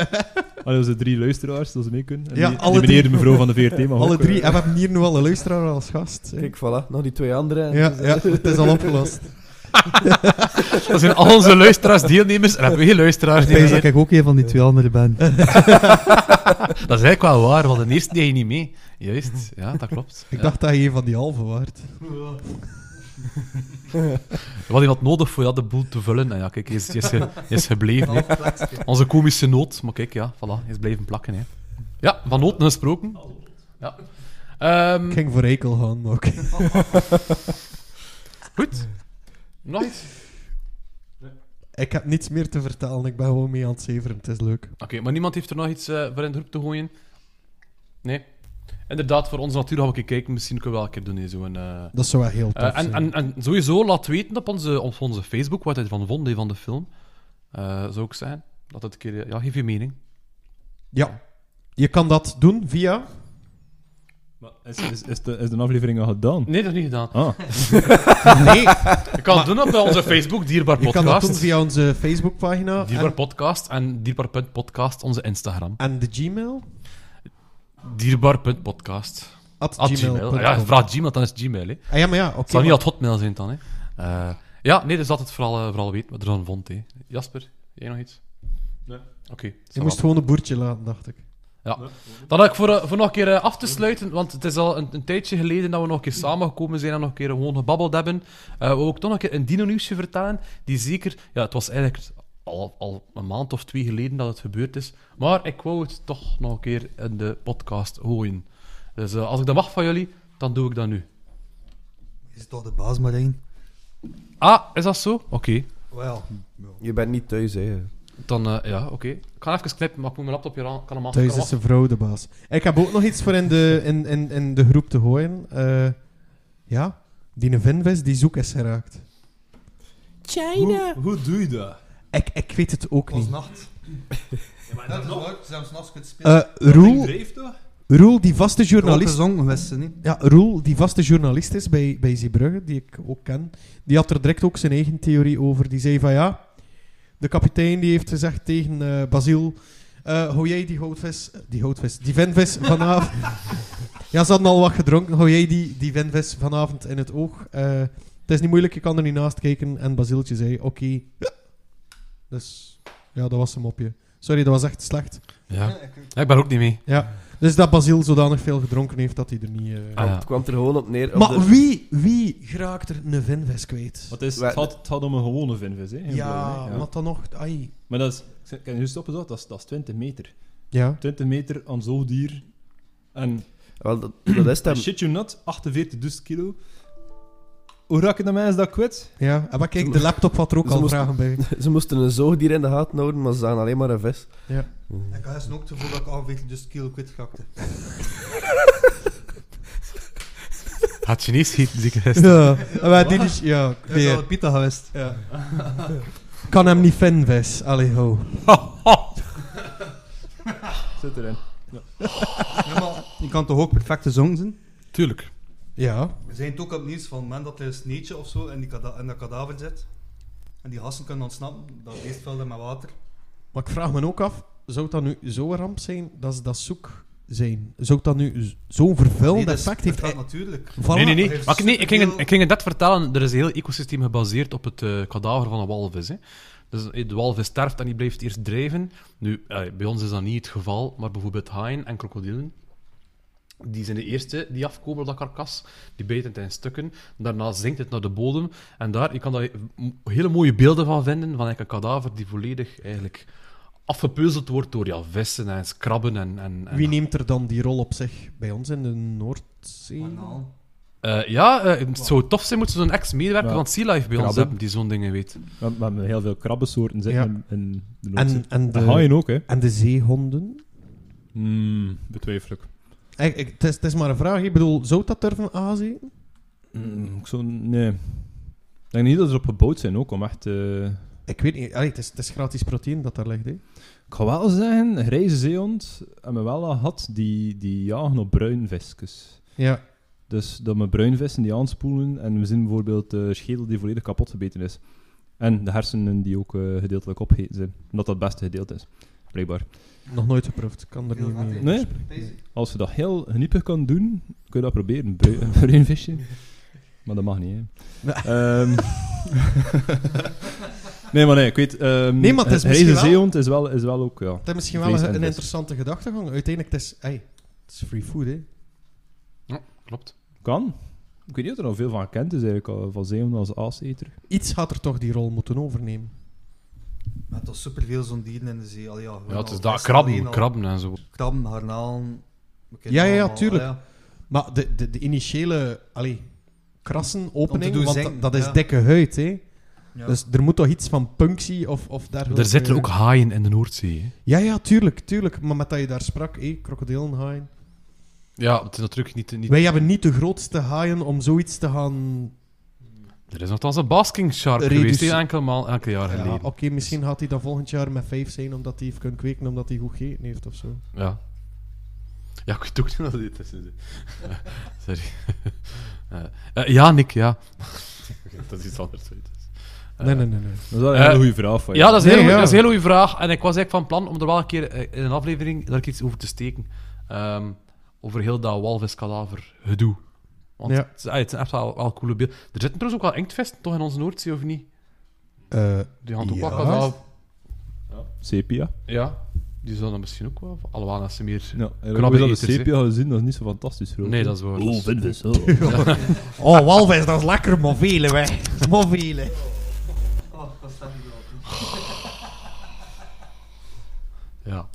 C: Allee, onze drie luisteraars, dat ze mee kunnen. En
B: Ja,
C: die, die
B: alle
C: meneer
B: drie.
C: en mevrouw van de VRT, maar
B: alle
C: ook,
B: drie.
C: eh,
B: En we hebben hier nu al een luisteraar als gast. hè.
E: Kijk, voilà, nog die twee anderen.
B: Ja, ja, het is al opgelost.
A: Dat zijn al onze luisteraars deelnemers en hebben we geen luisteraars
D: Ik denk
A: deelnemers.
D: dat ik ook een van die twee anderen ben.
A: Dat is eigenlijk wel waar, want de eerste deed je niet mee. Juist, ja, dat klopt.
B: Ik
A: Ja.
B: dacht dat je een van die halve waard.
A: We hadden wat nodig voor ja, de boel te vullen. En ja, kijk, hij is, hij is, ge- hij is gebleven. hè. Onze komische noot, maar kijk, ja, voilà, hij is blijven plakken. Hè. Ja, van noten gesproken. Ja. Ehm,
B: Ik ging voor Ekel gaan, maar oké.
A: goed. Nog iets?
B: Ik heb niets meer te vertellen. Ik ben gewoon mee aan het zeveren. Het is leuk.
A: Oké, maar niemand heeft er nog iets eh, voor in de groep te gooien? Nee? Inderdaad, voor onze natuur gaan we een keer kijken. Misschien kunnen we wel een keer doen, hè, zo'n... eh,
B: Dat zou wel heel tof
A: Eh, en, en,
B: zijn.
A: en sowieso laat weten op onze, op onze Facebook wat hij ervan vond, hè, van de film. Eh, zou ook zijn. Dat het een keer... eh, Ja, geef je mening.
B: Ja. Je kan dat doen via...
C: maar Is, is, is, de, is de aflevering al gedaan?
A: Nee, dat is niet gedaan.
C: Ah,
B: Nee,
A: Je kan het doen op eh, onze Facebook, Dierbaar
B: je kan dat doen
A: Podcast.
B: via onze Facebookpagina.
A: Dierbaar
B: En,
A: Podcast en dierbaar.podcast, onze Instagram.
B: en de Gmail.
A: Dierbaar.podcast.
B: At
A: At
B: gmail.
A: Gmail. Ja, vraag Gmail, dan is het Gmail. Hè. Het
B: Ah, ja, maar ja, oké.
A: zal niet
B: maar-
A: dat Hotmail zijn dan. Hè. Eh, ja, nee, dus dat het vooral, eh, vooral weet wat er dan vond. Hè. Jasper, jij nog iets?
C: Nee.
A: Oké.
B: je
A: ça
B: moest
A: va.
B: gewoon een boertje laten, dacht ik.
A: Dan had ik voor, eh, voor nog een keer eh, af te sluiten, want het is al een, een tijdje geleden dat we nog een keer samengekomen zijn en nog een keer gewoon gebabbeld hebben. Eh we ook toch nog een keer een dino-nieuwsje vertellen, die zeker... Ja, het was eigenlijk al, al een maand of twee geleden dat het gebeurd is, maar ik wou het toch nog een keer in de podcast gooien. Dus eh, als ik dat mag van jullie, dan doe ik dat nu.
D: Is toch de baas maar één?
A: Ah, is dat zo? Oké.
D: Wel.
E: Je bent niet thuis, hè.
A: Dan, eh, ja, oké. Ik ga even knippen, maar ik moet mijn laptop hier aan. Kan hem af, kan
B: Thuis
A: hem
B: is een vrouw de baas. Ik heb ook nog iets voor in de, in, in, in de groep te gooien. Eh, ja, die Vinvis die zoek is geraakt.
C: hoe, hoe doe je dat?
B: Ik, ik weet het ook niet.
D: nacht. dat is nooit, ze hebben s'nachts kunnen
B: Eh,
C: Ding
B: Roel,
C: drijft toch?
B: Roel, die vaste journalist
D: Gezongen wist ze niet.
B: Ja, Roel, die vaste journalist is bij, bij Zeebrugge, die ik ook ken, die had er direct ook zijn eigen theorie over. Die zei van ja, de kapitein die heeft gezegd tegen eh Basiel, eh, hou jij die houtvis, die houtvis, die venvis vanavond... ja, ze hadden al wat gedronken, hou jij die, die venvis vanavond in het oog. Eh, het is niet moeilijk, je kan er niet naast kijken. En Basieltje zei, oké. Dus ja, dat was een mopje. Sorry, dat was echt slecht.
A: Ja. ja, ik ben ook niet mee.
B: Ja. Dus dat Basil zodanig veel gedronken heeft dat hij er niet... eh,
A: Ah, ja.
E: Het kwam er gewoon op neer. op
B: Maar
E: de-
B: wie, wie geraakt er een Vinves kwijt?
C: Wat is,
E: Wij-
C: het, gaat, het gaat om een gewone Vinvis, hè? geen blauwe,
B: ja,
C: hè.
B: wat dan nog? Ai.
C: Maar dat is, ik heb juist opgezocht, dat is, dat is 20 meter.
B: Ja.
C: 20 meter aan zo'n dier. En
E: Wel, dat, dat is
C: I
E: hem.
C: shit you not, 48.000 kilo. Hoe raak ik de mens dat kwijt?
B: ja. En maar kijk, de laptop had er ook
E: Ze
B: al
E: moesten-
B: vragen bij.
E: Ze moesten een zoogdier in de gaten houden, maar ze zagen alleen maar een vis.
B: Ja.
D: Ik had gisteren ook het gevoel dat ik aanwezig dus kilo kwijtgakte.
A: Had Chinees gegeten, zie ik gisteren.
B: Ja, maar dit is... Ja,
D: Dat is
B: nee.
D: al een pita geweest.
B: Ja. kan hem niet Vinves, allee ho.
C: Zit erin.
D: Ja, maar je kan toch ook perfecte zong zijn?
A: Tuurlijk.
B: Ja.
D: We zijn het ook op het nieuws van het moment dat er een sneetje of zo in, die kada- in dat kadaver zit. En die hassen kunnen ontsnappen, dat beest vulde met water.
B: Maar ik vraag me ook af, zou dat nu zo'n ramp zijn dat ze dat zoek zijn? Zou dat nu z- zo'n vervuilend
D: Nee, dat is-
B: effect heeft? Eh,
D: Dat gaat natuurlijk.
B: Voilà.
A: Nee, nee, nee.
D: heeft
A: Maar ik, nee, ik, ging,
D: superveel-
A: ik ging het net vertellen, er is een heel ecosysteem gebaseerd op het eh, kadaver van een walvis. Hè. Dus eh, de walvis sterft en die blijft eerst drijven. Nu, eh, bij ons is dat niet het geval, maar bijvoorbeeld haaien en krokodillen, die zijn de eerste die afkomen op dat karkas. Die bijten het in stukken. Daarna zinkt het naar de bodem. En daar, je kan daar m- hele mooie beelden van vinden, van eigenlijk een kadaver die volledig eigenlijk afgepeuzeld wordt door ja, vissen en krabben en... en, en
B: Wie neemt er dan die rol op zich? Bij ons in de Noordzee?
D: Banaal.
A: Eh, ja, eh, het zou tof zijn, moeten ze zo'n ex-medewerker
C: Ja.
A: van Sea Life bij ons
C: Krabben.
A: hebben die zo'n dingen weet.
C: We, we hebben heel veel krabbensoorten zitten
B: Ja.
C: in, in de Noordzee.
B: En, en,
C: En haaien
B: de,
C: ook, hè?
B: en de zeehonden?
C: Hmm, betwijfel ik.
B: Eh, ik- Het is, het is maar een vraag. Ik bedoel, zou dat durven aanzien?
C: Hmm, ik zo, nee. Ik denk niet dat ze erop gebouwd zijn ook, om echt... eh,
B: Ik weet niet. Allee, het, is, het is gratis proteïne dat daar ligt. Hè?
C: Ik ga wel zeggen, grijze zeehond hebben we wel al gehad, die, die jagen op bruinvisjes.
B: Ja.
C: Dus dat we bruinvissen die aanspoelen en we zien bijvoorbeeld de schedel die volledig kapot gebeten is. En de hersenen die ook eh, gedeeltelijk opgegeten zijn, omdat dat het beste gedeelte is. Blijkbaar.
B: Nog nooit geproefd. Ik kan er
D: Heel
B: niet
D: vet, hè.
B: mee.
C: Nee? Als je dat heel geniepig kan doen, kun je dat proberen, bru- een bruinvisje. Maar dat mag niet, hè. Ehm. nee, maar nee, ik weet... ehm
B: Nee, maar het is
C: grijze
B: misschien wel-
C: zeehond is wel, is wel ook, ja.
B: Dat is misschien
C: Vlees
B: wel
C: en
B: een, een
C: vis.
B: interessante gedachtegang. Uiteindelijk, het is, hey, het is free food. Hè?
A: Klopt.
C: Kan. Ik weet niet of er al veel van gekend is, eigenlijk, al- van zeehonden als aaseter.
B: Iets had er toch die rol moeten overnemen.
D: Maar toch superveel zo'n dieren in de zee. Al, ja, gewoon
A: Ja, het
D: al
A: is daar
D: vis
A: krabben,
D: alleen al.
A: krabben en zo.
D: Krabben, garnalen. we kennen
B: Ja, ja, ja,
D: allemaal,
B: tuurlijk.
D: ja.
B: Maar de, de, de initiële allee, krassen,
D: Om te
B: opening,
D: doen
B: want
D: zinken,
B: dat, dat is
D: ja.
B: dikke huid. Hè?
D: Ja.
B: Dus er moet toch iets van punctie of, of dergelijke...
A: Er zitten ook haaien in de Noordzee. hè.
B: Ja, ja, tuurlijk, tuurlijk. Maar met dat je daar sprak, hé, krokodillenhaaien.
A: Ja, het is natuurlijk niet... niet
B: Wij hebben niet de grootste haaien om zoiets te gaan...
A: er is nogthans een basking shark
B: Reduce-
A: geweest, hè, enkel maal, enkel jaar
B: Ja,
A: geleden.
B: Oké, misschien gaat hij dan volgend jaar met vijf zijn, omdat hij heeft kunnen kweken, omdat hij goed gegeten heeft of zo.
A: Ja. Ja, ik weet ook niet wat dit is. dus- Sorry. Eh, eh, ja, Nick, ja. dat is iets anders. weet je. Eh,
B: Nee, nee, nee. nee.
C: Dat is wel een
A: Eh,
C: hele goede vraag van je.
A: Ja, dat is een
B: Nee,
A: heel goeie-
B: ja.
A: dat is een hele goede vraag. En ik was eigenlijk van plan om er wel een keer eh, in een aflevering daar iets over te steken. Ehm, over heel dat walviskadaver gedoe. Want
B: Ja.
A: het, is- eh, het zijn echt wel, wel coole beelden. Er zitten trouwens ook wel inktvesten toch in onze Noordzee, of niet?
B: Eh,
A: Die gaan toch
B: Ja.
A: wel kadaver...
C: Sepia.
A: Ja, die zullen dat misschien ook wel... Alhoewel, dat ze meer...
C: Ja,
A: Krabbe
C: ik dat de
A: eters, hè.
C: sepia gezien, dat is niet zo fantastisch groot.
A: Nee, dat is waar. Dus-
C: Oh, vinvis,
B: Oh, walvis, dat is lekker, maar vele, wij. Maar vele.
D: Oh, dat staat niet erop.
A: Ja.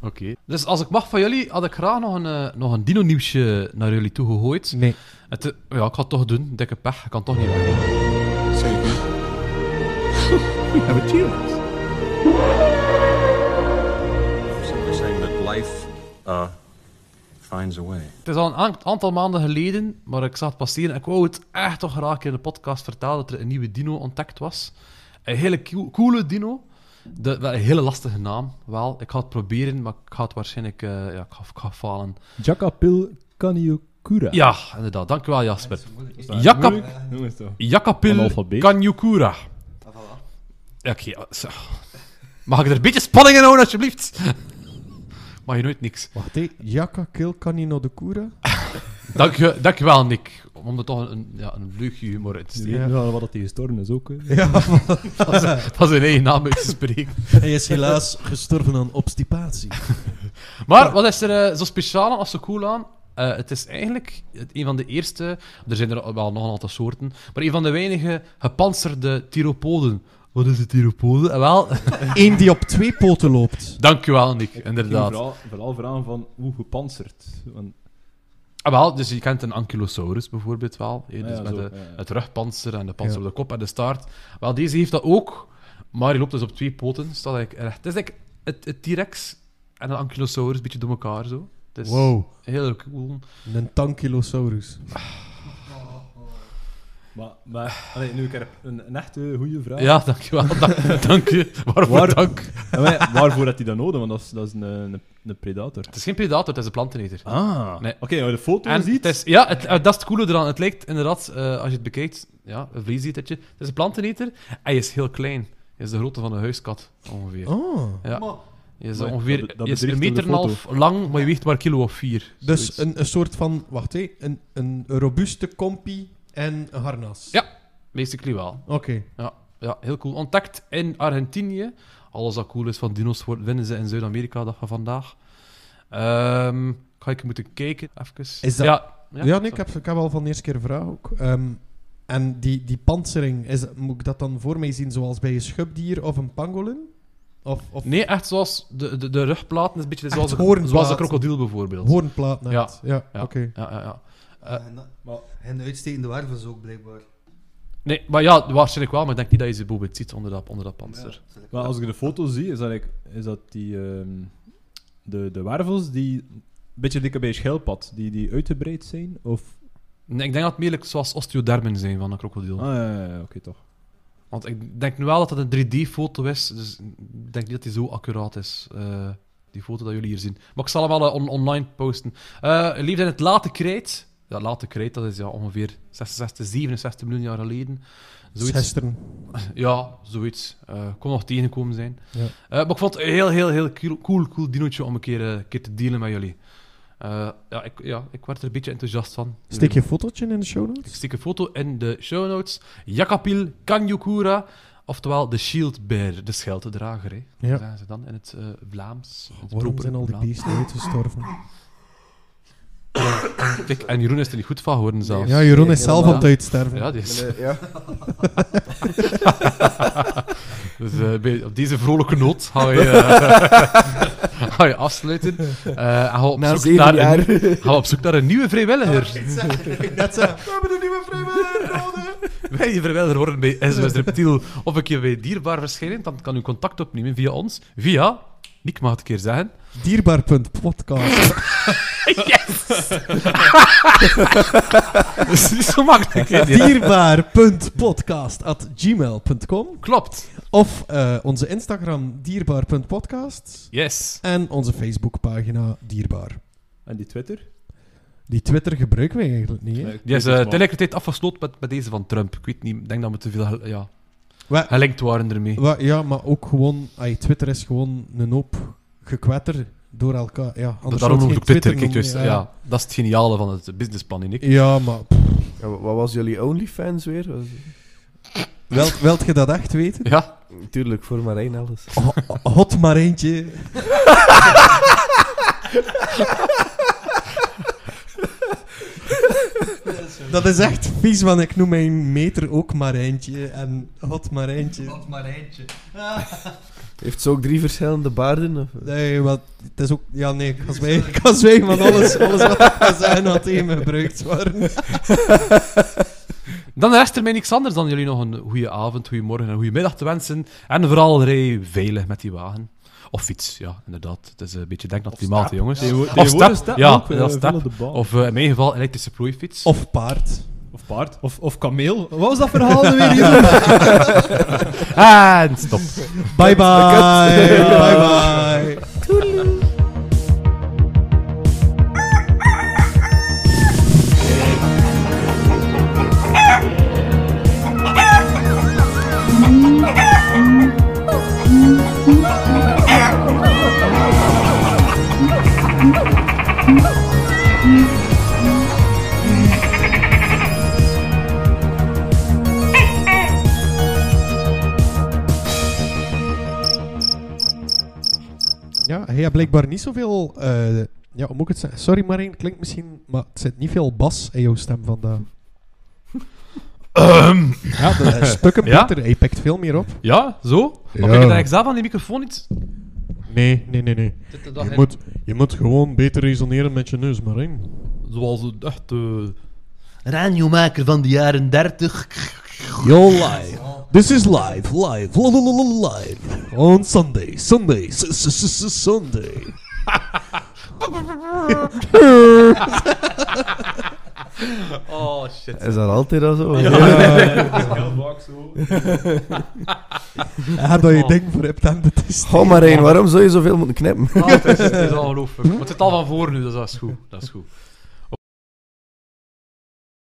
A: Oké. Dus als ik mag van jullie, had ik graag nog een, eh, nog een dino-nieuwsje naar jullie toe gegooid.
B: Nee.
A: Het, eh, ja, ik ga het toch doen. Dikke pech, ik kan toch niet weg.
G: Simply saying that life uh, finds a way.
A: Het is al een aan- aantal maanden geleden, maar ik zag het passeren. Ik wou het echt toch graag in de podcast vertellen dat er een nieuwe dino ontdekt was. Een hele coo- coole dino. De, wel, een hele lastige naam, wel. Ik ga het proberen, maar ik ga het waarschijnlijk eh, ja, ik ga, ik ga falen.
C: Jacapil Caniocura.
A: Ja, inderdaad. Dankjewel, Jasper. Jacap-
C: Jacapil. Noem eens toch.
A: Jacapil
C: Analfabeet.
A: Canyukura. Ja, Oké, ja, zo. Mag ik er een beetje spanning in houden, alsjeblieft? Mag je nooit niks.
B: nou Wacht, hé. Jaka Kil Canino de Cura?
A: Dank je, dank je wel, Nick. Om er toch een, ja, een vleugje humor uit te
C: Ze
A: steken.
C: weten wel wat dat die gestorven is ook. hè.
A: Van zijn eigen naam uit te spreken.
B: Hij is helaas gestorven aan obstipatie.
A: Maar wat is er eh, zo speciaal aan of zo cool aan? Eh, het is eigenlijk het- een van de eerste, er zijn er wel nog een aantal soorten, maar een van de weinige gepantserde tyropoden. Wat is een tyropode? Eh, wel,
B: Eén die op twee poten loopt.
A: dankjewel Nick,
C: Ik ging
A: inderdaad.
C: Vooral, vooral vragen van hoe gepantserd. Want,
A: Ah, wel, dus je kent een ankylosaurus bijvoorbeeld wel, hè,
C: ah
A: dus
C: ja,
A: met
C: zo,
A: de,
C: ja, ja.
A: het rugpanzer en de panzer op de kop en de staart. Wel, deze heeft dat ook, maar hij loopt dus op twee poten. Staat eigenlijk recht. Het is eigenlijk het, het T-rex en een ankylosaurus, een beetje door elkaar zo. Het is
B: Wow.
A: heel cool.
B: Een tankilosaurus.
C: Maar, maar allee, nu ik er een, een echte goede vraag.
A: Ja, dankjewel. Dank, dank je. Waarvoor
C: Waar-
A: dank?
C: En wij- waarvoor had hij dat nodig? Want dat is, dat is een, een, een predator.
A: Het is geen predator, het is een planteneter.
C: Ah,
A: Nee.
C: oké, maar de foto
A: En
C: ziet.
A: het is, ja, het, eh, dat is het coole eraan. Het lijkt inderdaad, eh, als je het bekijkt, ja, een vleesetertje. Het is een planteneter. Hij is heel klein. Hij is de grootte van een huiskat, ongeveer.
B: Oh.
A: Ja.
D: Maar
A: Hij is
C: Mooi,
A: ongeveer
C: dat be- dat
A: hij is een
C: bedriegt
A: meter en
C: de
A: een
C: foto.
A: half lang, maar je weegt maar een kilo of vier.
B: Dus
A: Zoiets.
B: een, een soort van, wacht hé, een, een robuuste kompie en een harnas.
A: Ja. Basically wel.
B: Oké.
A: Ja, ja, heel cool. Ontdekt in Argentinië. Alles wat cool is van dino's wordt- winnen ze in Zuid-Amerika, dat van vandaag. Ehm, ga ik moeten kijken, even.
B: Is dat-
A: Ja,
B: Ja, nee, ik heb, ik heb al van de eerste keer een vraag ook. Ehm, en die, die pantsering, is, moet ik dat dan voor mij zien zoals bij een schubdier of een pangolin? Of, of
A: Nee, echt zoals de, de, de rugplaten is een beetje
B: Echt
A: zoals, een,
B: hoornplaten.
A: zoals een krokodil bijvoorbeeld.
B: hoornplaat net?
A: Ja.
B: ja,
A: Ja.
B: oké.
A: Ja, ja, ja. Eh,
D: en,
C: maar-
D: en uitstekende wervels ook blijkbaar.
A: Nee, maar ja, waarschijnlijk wel, maar ik denk niet dat je ze bijvoorbeeld ziet onder dat, onder dat panzer.
C: Maar als ik de foto zie, is dat, ik, is dat die, ehm, de, de wervels die een beetje dikker bij een schelpad, die, die uitgebreid zijn? Of...
A: Nee, ik denk dat het meer like zoals osteodermen zijn van een krokodil.
C: Ah, ja, ja, ja, oké, toch.
A: Want ik denk nu wel dat dat een 3D-foto is, dus ik denk niet dat die zo accuraat is, eh, die foto dat jullie hier zien. Maar ik zal hem wel eh, on- online posten. Eh Leefde in het late krijt. Dat late krijt, dat is ja, ongeveer 66, 67 miljoen jaar geleden. Zoiets.
B: Zesteren.
A: Ja, zoiets. Eh kon nog tegengekomen zijn.
B: Ja.
A: Eh, maar ik vond het een heel, heel, heel cool, cool, cool dinootje om een keer, eh, een keer te dealen met jullie. Eh, ja, ik, ja, ik werd er een beetje enthousiast van.
B: Steek je fotootje in de show notes?
A: Ik steek een foto in de show notes. Jakapil Kanyukura, oftewel de Shield Bear, de schelddrager. Hè.
B: Ja.
A: Zeggen ze dan in het eh, Vlaams. in het
B: Waarom
A: propere
B: zijn al die
A: Vlaams.
B: beesten uitgestorven?
A: Kijk, en Jeroen is er niet goed van geworden zelf.
B: Ja, Jeroen is
E: Nee,
B: zelf aan het
E: helemaal.
B: uitsterven.
A: Ja, die is-
E: Nee, eh, ja.
A: Dus eh, bij- op deze vrolijke noot ga je, eh, ga je afsluiten. Eh, en gaan we op
E: Na
A: zoek
E: zeven
A: naar
E: jaar.
A: een, gaan we op zoek naar een nieuwe vrijwilliger. Wil je vrijwilliger worden bij SOS Reptiel of een keer bij Dierbaar verschijnen, dan kan u contact opnemen via ons. Via, Nick mag het een keer zeggen.
B: Dierbaar.podcast.
A: Dat is niet Dus, zo makkelijk. hè?
B: Dierbaar.podcast at gmail.com
A: Klopt.
B: Of eh, onze Instagram dierbaar.podcast
A: Yes.
B: en onze Facebookpagina dierbaar.
C: En die Twitter?
B: Die Twitter gebruiken wij eigenlijk niet. Hè?
C: Nee, ik
A: Die is
C: weet
A: eh,
C: het maar.
A: tegelijkertijd afgesloten met, met deze van Trump. Ik weet niet, ik denk dat we te veel gel- ja,
B: Wa-
A: gelinkt waren ermee.
B: wa- ja, maar ook gewoon... ai, Twitter is gewoon een hoop gekwetter door elkaar. Ja, anders
A: Daarom noem
B: zou het
A: ik ook
B: geen
A: Twitter. Kijk,
C: dus,
A: juist, ja.
B: noemen,
A: dat is het geniale van het businessplan, in ik.
B: ja. Ja, maar pff,
E: Ja, wa- Wat was jullie OnlyFans weer? Was-
B: wilt, wilt je dat echt weten?
A: Ja,
E: Tuurlijk, voor Marijn alles.
B: Hot maar eentje. Dat is echt vies, want ik noem mijn meter ook maar eentje en hot maar eentje.
D: Wat maar eentje.
E: Heeft ze ook drie verschillende baarden? Of?
B: Nee, wat, het is ook... Ja, nee, ik kan zwijgen, ik kan zwijgen want alles, alles wat ik gezegd had tegen me gebruikt worden.
A: dan rest er mij niks anders dan jullie nog een goede avond, goede morgen en goede middag te wensen. En vooral rij veilig met die wagen. Of fiets, ja, inderdaad. Het is een beetje denk aan het klimaat, hè, jongens.
C: Tegenwo-
A: Of stap,
C: tegenwoordig stappen
A: ja,
C: ook, eh,
A: ja,
C: veel
A: stap.
C: op de baan. Of,
A: Of eh, in mijn geval elektrische plooifiets.
B: Of paard.
C: paard. Of, of kameel. Wat was dat verhaal nu weer? Jeroen?
A: En stop.
B: Bye bye. Bye bye. hij heeft blijkbaar niet zoveel... eh, ja, hoe moet ik het zeggen? Sorry Marijn, klinkt misschien... Maar het zit niet veel bas in jouw stem vandaag. Ja, dat is stukken
A: Ja?
B: beter. Hij pikt veel meer op.
A: Ja, zo? Maar ben je daar zelf aan die microfoon iets...
B: Nee, nee, nee, nee.
A: Zit er dan
B: Je moet, je moet gewoon beter resoneren met je neus, Marijn.
A: Zoals eh, een echte... Radiomaker van de jaren 30.
B: Yo, live. This is live, live, la, la, la, la, live. On Sunday, Sunday, s- s- s- s- Sunday.
A: Oh, shit.
E: Is dat altijd al zo?
B: En dat je ding voor hebt aan de test.
E: Hou maar één, waarom zou je zoveel moeten knippen?
A: Ah, het, is, het is ongelooflijk. Maar het zit al van voor nu, dus dat is goed. Dat is goed.